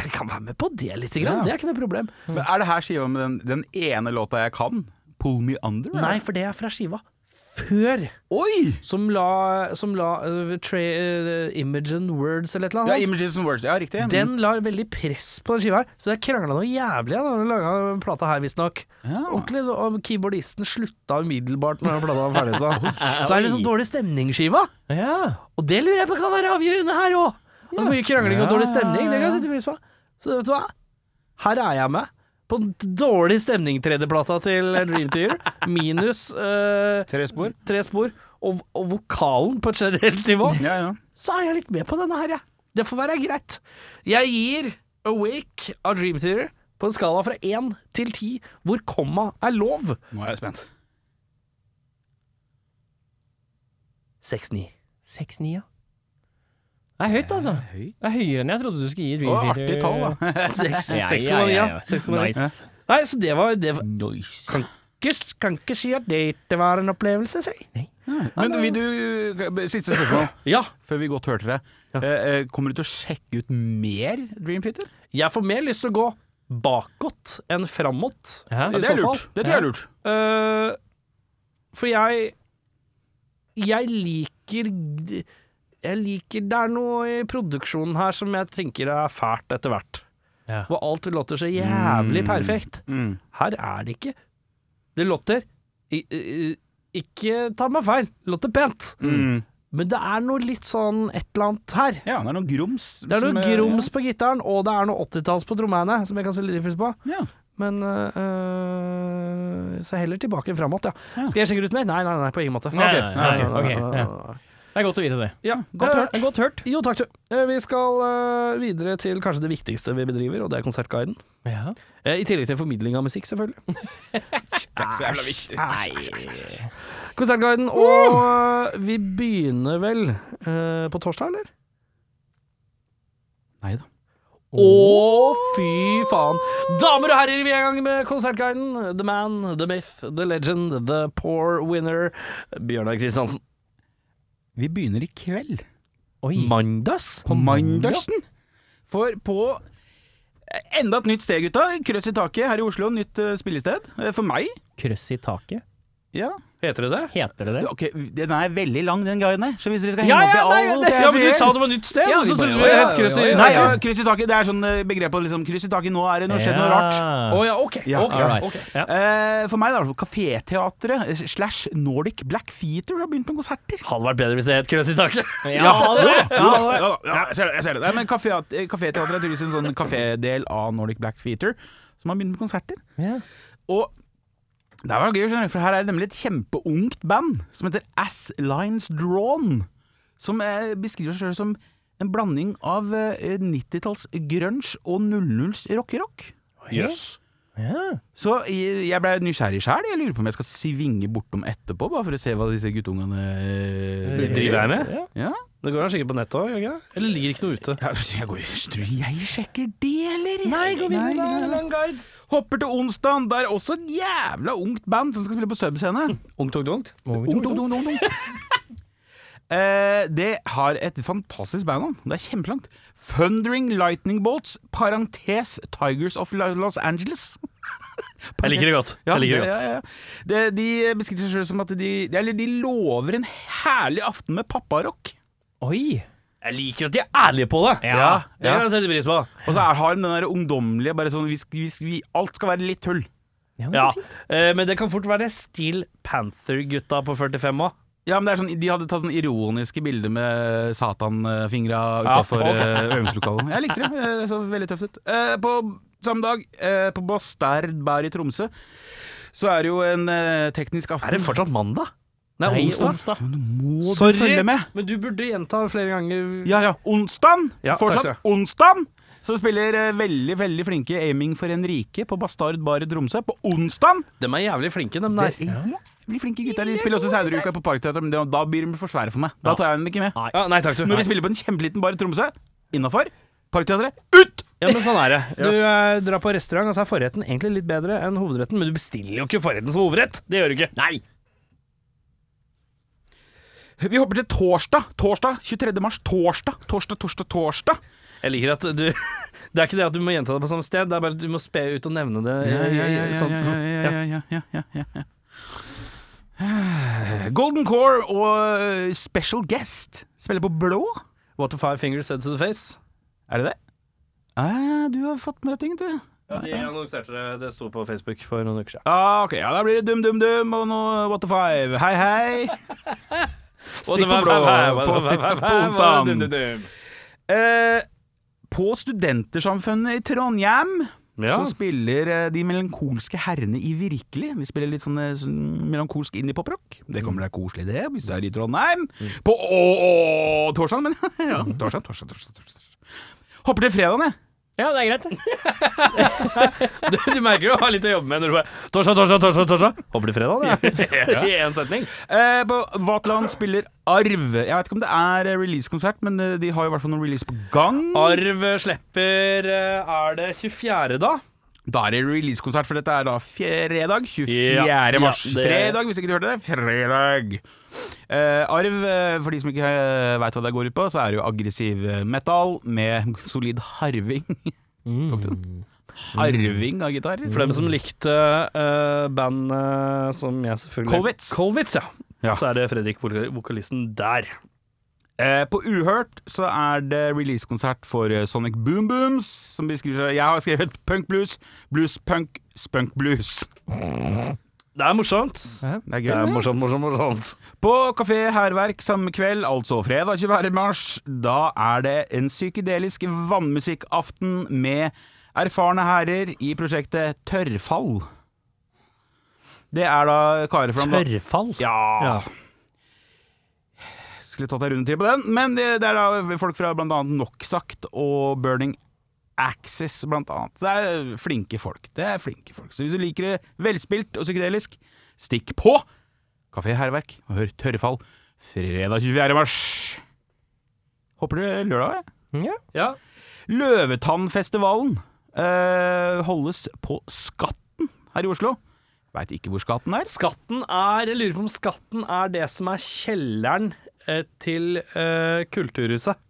S2: Jeg kan være med på det lite grann,
S3: Ja.
S2: det er ikke noe problem.
S3: Mm. Men er det her skiva med den, den ene låta jeg kan? Pull Me Under? eller?
S2: Nei, for det er fra skiva før,
S3: Oi!
S2: som la, som la eh, tra, eh, Image and Words eller et eller
S3: Ja,
S2: annet.
S3: Images and Words. Ja, riktig. Mm.
S2: Den la veldig press på den skiva her, så jeg krangla noe jævlig da vi laga plata her, visstnok.
S3: Ja.
S2: Ordentlig, så- og keyboardisten slutta umiddelbart når den plata var ferdig. Så, så er det sånn dårlig stemning-skiva,
S4: Ja.
S2: og det lurer jeg på kan være avgjørende her òg. Det er mye krangling og dårlig stemning, det kan jeg sette pris på. Så vet du hva, her er jeg med. På den dårlig stemning-tredjeplata til Dream Theater, minus eh,
S3: Tre spor.
S2: tre spor, og, og vokalen på et generelt nivå
S3: Ja, ja.
S2: så er jeg litt med på denne her, jeg. Det får være greit. Jeg gir Awake av Dream Theater på en skala fra 1 til 10, hvor komma er lov.
S3: Nå er jeg spent.
S2: 6-9.
S4: 6-9, ja. Det er høyt, altså. Det er høyere enn jeg trodde du skulle gi
S3: Det
S4: Dream
S3: var artig
S4: Theater.
S3: tall, da.
S2: Seks-
S4: Ja,
S2: 6,9,
S4: ja, ja,
S2: ja.
S4: ja.
S2: 6,9.
S4: Nice.
S2: Nei, så det var, det var
S3: Nice.
S2: kan, ikke, kan ikke si at det ikke var en opplevelse, si.
S3: Men vil du eh, Siste spørsmål,
S2: Ja,
S3: før vi godt hørte det. Eh, eh, Kommer du til å sjekke ut mer Dream Theater?
S2: jeg får mer lyst til å gå bakåt enn framåt.
S4: Ja.
S2: I
S3: det er
S2: så fall.
S3: lurt. Det tror jeg er lurt.
S2: Eh, for jeg Jeg liker Jeg liker Det er noe i produksjonen her som jeg tenker er fælt etter hvert.
S4: Ja.
S2: Hvor alt låter så jævlig perfekt. Her er det ikke Det låter i, i, i- Ikke ta meg feil, det låter pent. Men det er noe litt sånn et eller annet her.
S3: Ja, det er noe grums.
S2: Det er
S3: som,
S2: noe
S3: eh,
S2: grums på gitaren, og det er noe 80-talls på trommene, som jeg kan se litt pris på.
S3: Ja.
S2: Men øh, Så heller tilbake enn framåt, ja. Skal jeg sjekke ut mer? Nei, nei, nei, på ingen måte.
S4: Nei, nei, nei,
S2: Ok,
S4: ok,
S2: nei, nei,
S4: ja.
S2: nei, nei.
S4: Det er godt å vite det.
S2: Ja,
S4: Godt
S2: eh,
S4: hørt. Godt hørt.
S2: Jo, takk du. Eh, Vi skal eh, videre til kanskje det viktigste vi bedriver, og det er Konsertguiden.
S4: Ja.
S2: Eh, I tillegg til formidling av musikk, selvfølgelig.
S3: Det er ikke så jævla viktig.
S2: Konsertguiden, og eh, vi begynner vel eh, på torsdag, eller?
S3: Nei da.
S2: Å, fy faen. Damer og herrer, vi er i gang med Konsertguiden. The man, the myth, the legend, the poor winner. Bjørnar Kristiansen.
S3: Vi begynner i kveld.
S4: Oi.
S2: Mandags?
S3: På mandagsen. For på eh, Enda et nytt sted, gutta. Krøss i taket her i Oslo. Nytt eh, spillested. Eh, For meg.
S4: Krøss i taket.
S3: Ja.
S2: Heter det det?
S4: Heter det det?
S3: Ok, Den er veldig lang, den guiden her. Så hvis dere skal
S2: Ja,
S3: henge
S2: ja,
S3: opp i
S2: nei,
S3: alt
S2: det,
S3: jeg
S2: ja, men du
S3: sier-
S2: sa det var nytt sted,
S4: Ja,
S2: og så
S4: vi
S2: trodde vi
S4: bare,
S2: det
S4: ja, ja,
S2: het kryss i
S4: ja, ja,
S3: Nei,
S2: Nei,
S3: ja,
S2: ja.
S3: kryss i taket. Det er sånn eh, begrep på liksom, kryss i taket. Nå er det noe skjedd noe rart.
S2: Å ja, ok.
S3: Ja,
S2: ok,
S4: All right.
S2: ok.
S4: Ja.
S3: Eh, for meg, da. Kaféteatret eh, slash Nordic Black Theater har begynt med konserter.
S2: Hadde vært bedre hvis det het krøss i taket.
S4: Ja, det er det.
S3: Jo da, jo da, ja, jeg ser det. jeg ser det Nei, men kafé- eh, Kaféteatret er tydeligvis en sånn kafédel av Nordic Black Theater som har begynt med konserter.
S4: Ja.
S3: Og det var gøy, skjønner du, for her er det nemlig et kjempeungt band som heter Ass Lines Drawn. Som eh, beskriver seg selv som en blanding av eh, 90-talls grunge og 00s rockerock.
S2: Jøss.
S4: Ja.
S3: Så jeg jeg ble nysgjerrig sjæl. Jeg lurer på om jeg skal svinge bortom etterpå, bare for å se hva disse guttungene eh,
S2: Driver jeg med?
S4: Ja.
S3: Ja.
S2: Det går da sikkert på nettet òg, gjør det ikke? Eller ligger ikke noe ute?
S3: Ja, Jeg går jo Tror du jeg sjekker det, eller? Nei,
S2: gå videre, det er en lang
S3: guide. Hopper til onsdag. Det er også et jævla ungt band som skal spille på subscene.
S2: Ungt og dumt?
S3: Ung, ung, ung, ung, ung. Eh, det har et fantastisk bandnavn. Det er kjempelangt. Thundering Lightning Bolts, parentes Tigers of La- Los Angeles.
S2: Jeg liker det godt.
S3: Ja,
S2: Jeg liker det
S3: ja,
S2: godt.
S3: ja, ja. Det, de beskriver seg selv som at de, eller de lover en herlig aften med papparock.
S4: Oi.
S2: Jeg liker at de er ærlige på det.
S3: Ja.
S2: Det kan jeg sette pris på.
S3: Og så er, har de den der ungdommelige bare sånn vi, sk- vi, sk- vi, Alt skal være litt tull.
S4: Ja, men
S2: Ja,
S4: så fint.
S2: eh, Men det kan fort være Steel Panther-gutta på 45 òg.
S3: Ja, men det er sånn, De hadde tatt sånn ironiske bilder med satanfingra
S2: Ja,
S3: utafor
S2: ok.
S3: øvingslokalet. Jeg likte det. Eh, Det så veldig tøft ut. Eh, På samme dag, eh, på Bastard Bær i Tromsø, så er det jo en eh, teknisk aften.
S2: Er det fortsatt mandag? Nei,
S4: Nei,
S2: onsdag.
S4: onsdag.
S3: Må
S2: Sorry.
S3: du følge med?
S2: Men du burde gjenta flere ganger.
S3: Ja, ja. Onsdagen!
S2: Ja, takk skal du ha.
S3: Fortsatt onsdagen! Så spiller eh, veldig veldig flinke Aiming for en rike på Bastard Bar i Tromsø på onsdagen.
S2: De er jævlig flinke, dem der.
S3: Blir flinke gutter. De spiller også Sæderuka på Parkteatret, men det- da blir de for svære for meg. Da tar jeg dem ikke med.
S2: Ja, nei takk, du.
S3: Når vi spiller på en kjempeliten bar i Tromsø, innafor Parkteatret, ut!
S2: Ja, men sånn er det. Du eh, drar på restaurant, og så er forretten egentlig litt bedre enn hovedretten, men du bestiller jo ikke forretten som hovedrett. Det gjør du ikke. Nei.
S3: Vi hopper til torsdag. Torsdag 23. mars. Torsdag, torsdag, torsdag, torsdag.
S2: Jeg liker at du Det er ikke det at du må gjenta det på samme sted, det er bare at du må spe ut og nevne det. eh, sånn.
S3: Golden Core og eh, Special Guest spiller på blå.
S2: What the five fingers said to the face.
S3: Er det det? Eh, du har fått med deg ting, du.
S2: Ja, De annonserte det, det sto på Facebook for noen uker siden.
S3: Ah, ok, ja, Da blir det Dum Dum Dum og noe What the Five. Hei, hei. Stikk på blå på, på onsdag. Eh, på Studentersamfunnet i Trondheim
S2: Ja.
S3: så spiller eh, de melankolske herrene i Virkelig. Vi spiller litt sånn, eh, sånn melankolsk indie-poprock. Det kommer deg koselig, det, hvis du er i Trondheim. På å, å, torsdag, men ja. Torsdag, torsdag, torsdag, torsdag. Hopper til fredagen, jeg.
S4: Ja, det er greit, det.
S2: Du, du merker jo å ha litt å jobbe med når du bare Torsdag, torsdag, torsdag, torsdag. Håper det er fredag, det. I én setning.
S3: Eh, på Vatland spiller Arv. Jeg vet ikke om det er eh, release-konsert, men eh, de har jo i hvert fall noen release på gang.
S2: Arv slipper eh, Er det 24., da?
S3: Da er det release-konsert, for dette er da fredag 24.
S2: Ja,
S3: mars.
S2: ja, det-
S3: Fredag, hvis ikke du hørte det. Fredag. Eh, arv, eh, for de som ikke uh, veit hva det går ut på, så er det jo aggressiv eh, metal med solid harving.
S2: Mm.
S3: Tok du den? Harving av gitarer.
S2: For dem som likte eh, bandet som jeg selvfølgelig
S3: Kolwitz.
S2: Kolwitz, ja.
S3: Ja.
S2: Så er det Fredrik, vokal- vokalisten der.
S3: Eh, på Uhørt så er det release-konsert for eh, Sonic Boom Booms, som beskriver seg Jeg har skrevet punk blues, blues punk, spunk blues.
S2: Det er morsomt.
S3: Det er gøy.
S2: Det er
S3: det.
S2: morsomt, morsomt, morsomt.
S3: På Kafé Hærverk samme kveld, altså fredag 24. mars, da er det en psykedelisk vannmusikkaften med erfarne herrer i prosjektet Tørrfall. Det er da karer fra
S4: Tørrfall.
S3: Ja. Skulle tatt en runde til på den, men det, det er da folk fra blant annet Noksakt og Burning Axis, blant annet. Det er flinke folk. Det er flinke folk. Så hvis du liker det velspilt og psykedelisk, stikk på Kafé Herverk og hør Tørrefall fredag 24. mars. Håper det er lørdag, jeg.
S4: Ja.
S2: Mm, Ja.
S3: Løvetannfestivalen eh, holdes på Skatten her i Oslo. Veit ikke hvor Skatten er.
S2: Skatten er Jeg lurer på om skatten er det som er kjelleren eh, til eh, Kulturhuset.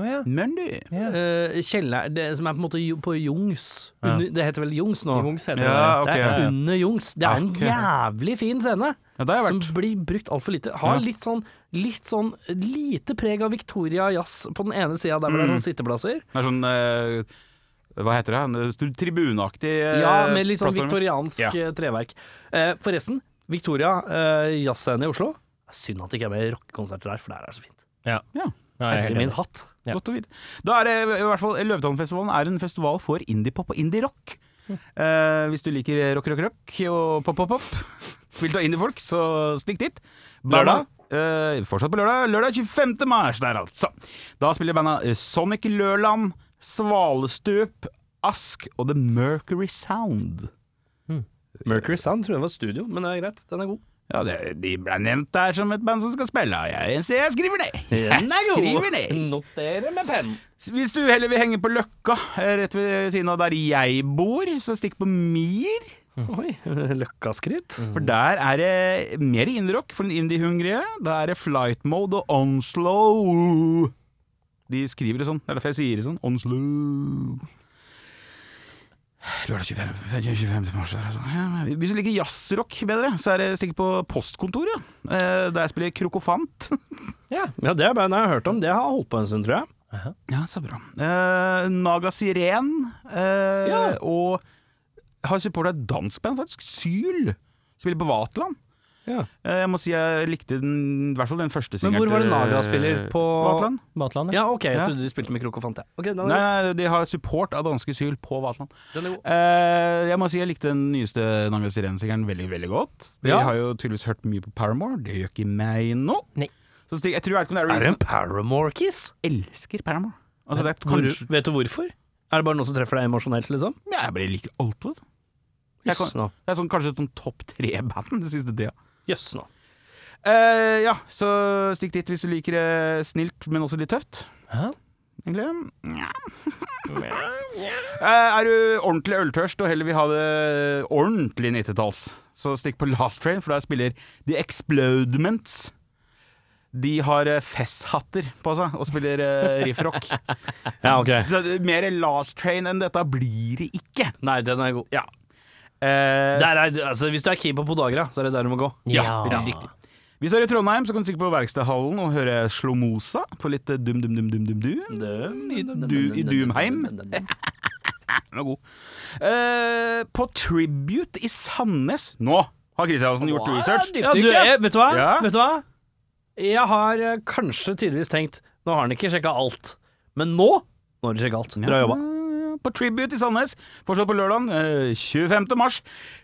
S4: Å, ja.
S3: Men du
S2: Eh, kjeller, det som er på en måte jo- på Jungs. Under, det heter vel Jungs nå?
S4: I Munchs heter
S3: Ja,
S4: det.
S3: ok.
S2: Det
S3: ja,
S2: er
S3: ja.
S2: under Jungs. Det er en
S3: Ok.
S2: jævlig fin scene.
S3: Ja, det har jeg
S2: Som
S3: vært.
S2: blir brukt altfor lite. Har
S3: Ja.
S2: litt sånn litt sånn lite preg av Victoria jazz på den ene sida, der hvor det
S3: Mm.
S2: er sånn sitteplasser.
S3: Det er sånn eh, Hva heter det? En tr- Tribuneaktig eh,
S2: Ja, med litt sånn
S3: plattform.
S2: viktoriansk
S3: Ja.
S2: eh, treverk. Eh, forresten, Victoria eh, jazzscene i Oslo. Synd at det ikke er mer rockekonserter der, for der er det så fint.
S4: Ja, jeg er
S2: Herre
S4: helt
S2: min
S4: enig.
S2: hatt.
S4: Ja.
S3: Godt å vite. Da er det i hvert fall Løvetannfestivalen er en festival for indiepop og indierock. Eh, hvis du liker rock, rock, rock og pop, pop, pop, spilt av indiefolk, så stikk dit.
S2: Lørdag?
S3: Eh, fortsatt på lørdag. Lørdag 25. mars der, altså. Da spiller banda eh, Sonic Lørland, Svalestup, Ask og The Mercury Sound.
S2: Mercury Sound tror jeg var studio, men det er greit. Den er god.
S3: Ja, det, De ble nevnt der som et band som skal spille. Jeg, jeg skriver ned! Jeg skriver ned!
S2: Notere med penn.
S3: Hvis du heller vil henge på Løkka, eh, rett ved siden av der jeg bor, så stikk på Mir.
S2: Oi, løkkaskritt.
S3: For der er det mer indierock for den indiehungrige. Da er det flight mode og onslow. De skriver det sånn, det er derfor jeg sier det sånn. Onslow. Lørdag 25. 25. mars. der, altså. Ja, men Hvis du liker jazzrock bedre, så er det stikk på Postkontoret. eh, Der jeg spiller Krokofant.
S2: Ja, det er bandet jeg har hørt om. Det har holdt på en stund, tror jeg.
S3: Ja, så bra. Eh, Naga Siren eh, og har supporta et dansk band, faktisk. Syl. Spiller på Vaterland.
S2: Ja.
S3: Eh, jeg må si jeg likte den, i hvert fall den første
S2: Men
S3: singelen.
S2: hvor var det
S3: til,
S2: Naga
S3: eh,
S2: spiller? På
S3: Vaterland.
S4: Matlandet.
S2: Ja, ok, jeg
S3: Ja.
S2: trodde de spilte med krok og fant, jeg. Ok, den er-
S3: Nei, nei, de har support av danske Syl på Vaterland.
S2: den er god.
S3: Eh, jeg må si jeg likte den nyeste Naga Siren-singelen veldig, veldig godt. De
S2: Ja.
S3: har jo tydeligvis hørt mye på Paramore. Det gjør ikke meg nå.
S4: Nei.
S3: Så Stig, jeg tror jeg vet ikke om det er
S2: Er det
S3: release,
S2: en Paramore-kiss?
S3: men jeg elsker Paramore. Altså, det er
S2: Hvor-
S3: kanskje
S2: Vet du hvorfor? Er det bare noe som treffer deg emosjonelt, liksom?
S3: Ja, Jeg bare liker alt ved det. Jeg kan-
S2: Jøss nå.
S3: Det er sånn, kanskje sånn topp tre-band den siste tida.
S2: Jøss nå.
S3: Eh, ja, så stikk dit hvis du liker det snilt, men også litt tøft.
S4: Hæ?
S3: Egentlig. Nja. Eh, er du ordentlig øltørst og heller vil ha det ordentlig 90-talls, så stikk på Last Train, for der spiller The Explodements. De har eh, fesshatter på seg og spiller eh, riffrock.
S2: Ja, ok.
S3: så det- mer Last Train enn dette blir det ikke.
S2: Nei, den er god.
S3: Ja. Eh,
S2: Der er, altså, hvis du er keeper på Dagra, så er det der du må gå.
S4: Ja.
S2: riktig.
S3: Hvis du er i Trondheim, så kan du stikke på Verkstedhallen og høre Slomosa på litt eh, dum dum dum dum dum dum I, du, I Doomheim. Den var god. Eh, på Tribute i Sandnes Nå har Kristiansen gjort research.
S2: Ja, du, jeg, vet du hva?
S3: Ja.
S2: Vet du hva? Jeg har eh, kanskje tidligvis tenkt Nå har han ikke sjekka alt, men nå Nå har han sjekka alt. Bra jobba.
S3: Ja, Eh, På Tribute i Sandnes, fortsatt på lørdag, 25. mars,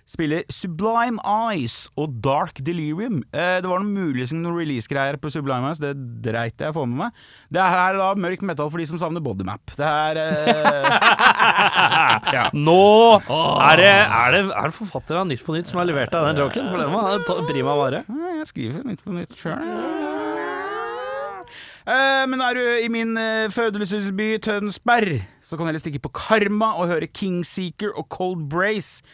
S3: spiller Sublime Eyes og Dark Delirium. Eh, Det var noen muligens noen release-greier på Sublime Eyes, det dreit jeg å få med meg. Det her er da mørk metal for de som savner bodymap. Det er eh,
S2: Nå er det, er det, er det forfatter av Nytt på Nytt som har levert deg den joken, for den var to- prima vare.
S3: Ja, Jeg skriver nytt på nytt sjøl. Men er du i min eh, fødelsesby Tønsberg, så kan du heller stikke på Karma og høre Kingseeker og Cold Brace.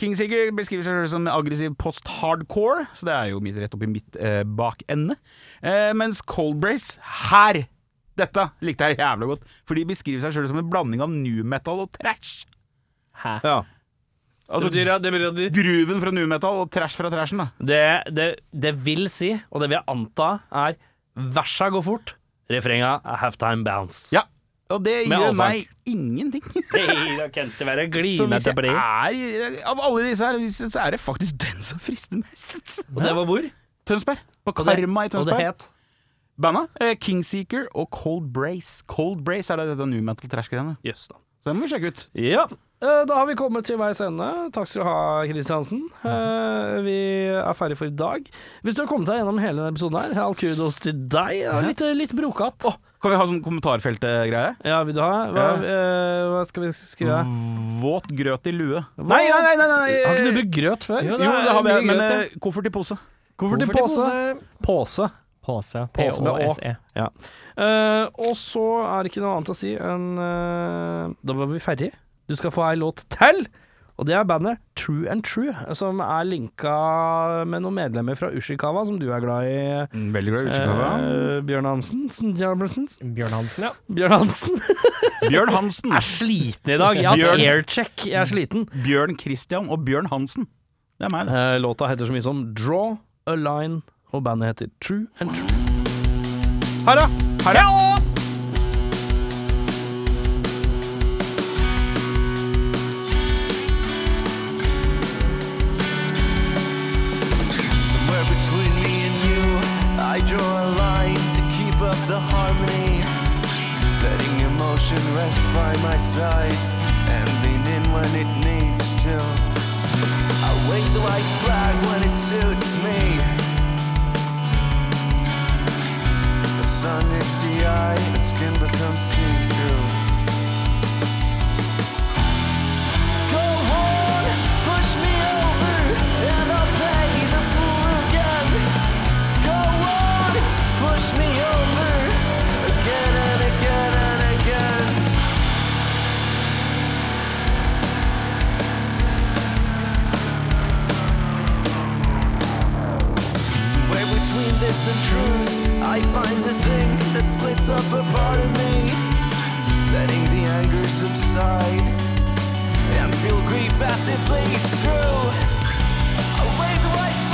S3: Kingseeker beskriver seg selv som aggressiv post-hardcore, så det er jo mitt rett opp i mitt eh, bakende. Eh, mens Cold Brace her Dette likte jeg jævla godt, for de beskriver seg sjøl som en blanding av new metal og trash.
S2: Ja.
S3: Altså grooven fra new metal og trash fra trashen, da.
S2: Det, det, det vil si, og det vil jeg anta, er versa går fort, refrenga er halftime bounce.
S3: Ja, og det
S2: Med
S3: gjør
S2: allsang.
S3: meg ingenting.
S2: Hei, da kan det være
S3: Så hvis
S2: glinete
S3: jeg
S2: på det.
S3: er, av alle disse her, hvis- så er det faktisk den som frister mest.
S2: Og det var hvor?
S3: Tønsberg. På
S2: Og det-
S3: Karma i
S2: Og det
S3: Tønsberg.
S2: het
S3: Banda eh, Kingseeker og Cold Brace. Cold Brace er det dette new metal trash-greiene.
S2: Jøss, da.
S3: Så det må vi sjekke ut.
S2: Ja. eh, Da har vi kommet til veis ende. Takk skal du ha, Kristiansen. Eh, Vi er ferdig for i dag. Hvis du har kommet deg gjennom hele denne episoden her, all kudos til deg. Ja, Litt, litt brokatt.
S3: Kan vi ha sånn kommentarfeltgreie?
S2: Ja, vil du ha? Hva,
S3: Ja.
S2: eh, hva skal vi skrive?
S3: Våt grøt i lue. Nei, nei, nei! nei, nei.
S2: Har ikke du brukt grøt før?
S3: Jo, det hadde jeg, men eh, koffert i pose.
S2: Hvorfor til pose? Pose.
S4: Påse.
S2: Påse med Å.
S4: P-Å-S-E.
S2: Ja. Eh, og så er det ikke noe annet å si enn eh, Da var vi ferdige. Du skal få ei låt til, og det er bandet True and True, som er linka med noen medlemmer fra Ushikawa, som du er Mm, glad i,
S3: Veldig glad i utskikkava.
S2: eh, Bjørn Hansen. Sn- Jabbersen?
S4: Bjørn Hansen, ja.
S2: Bjørn Hansen.
S3: Bjørn Hansen.
S2: Sliten i dag. Jeg har hatt
S3: Bjørn.
S2: aircheck. Jeg er sliten.
S3: Bjørn Christian og Bjørn Hansen. Det er meg, det.
S2: Eh, låta heter så mye som Draw a Line, og bandet heter True and True. Ha det!
S3: Ha det!
S6: Somewhere between me and you, I draw a line to keep up the harmony. Letting emotion rest by my side and lean in when it needs to. I wave the white flag when it suits me. The sun hits the eye, the skin becomes see through. Go on, push me over, and I'll pay the fool again. Go on, push me over, again and again and again. Somewhere between this and truce, I find the thing that splits up a part of me. Letting the anger subside and feel grief as it bleeds through. I wave the white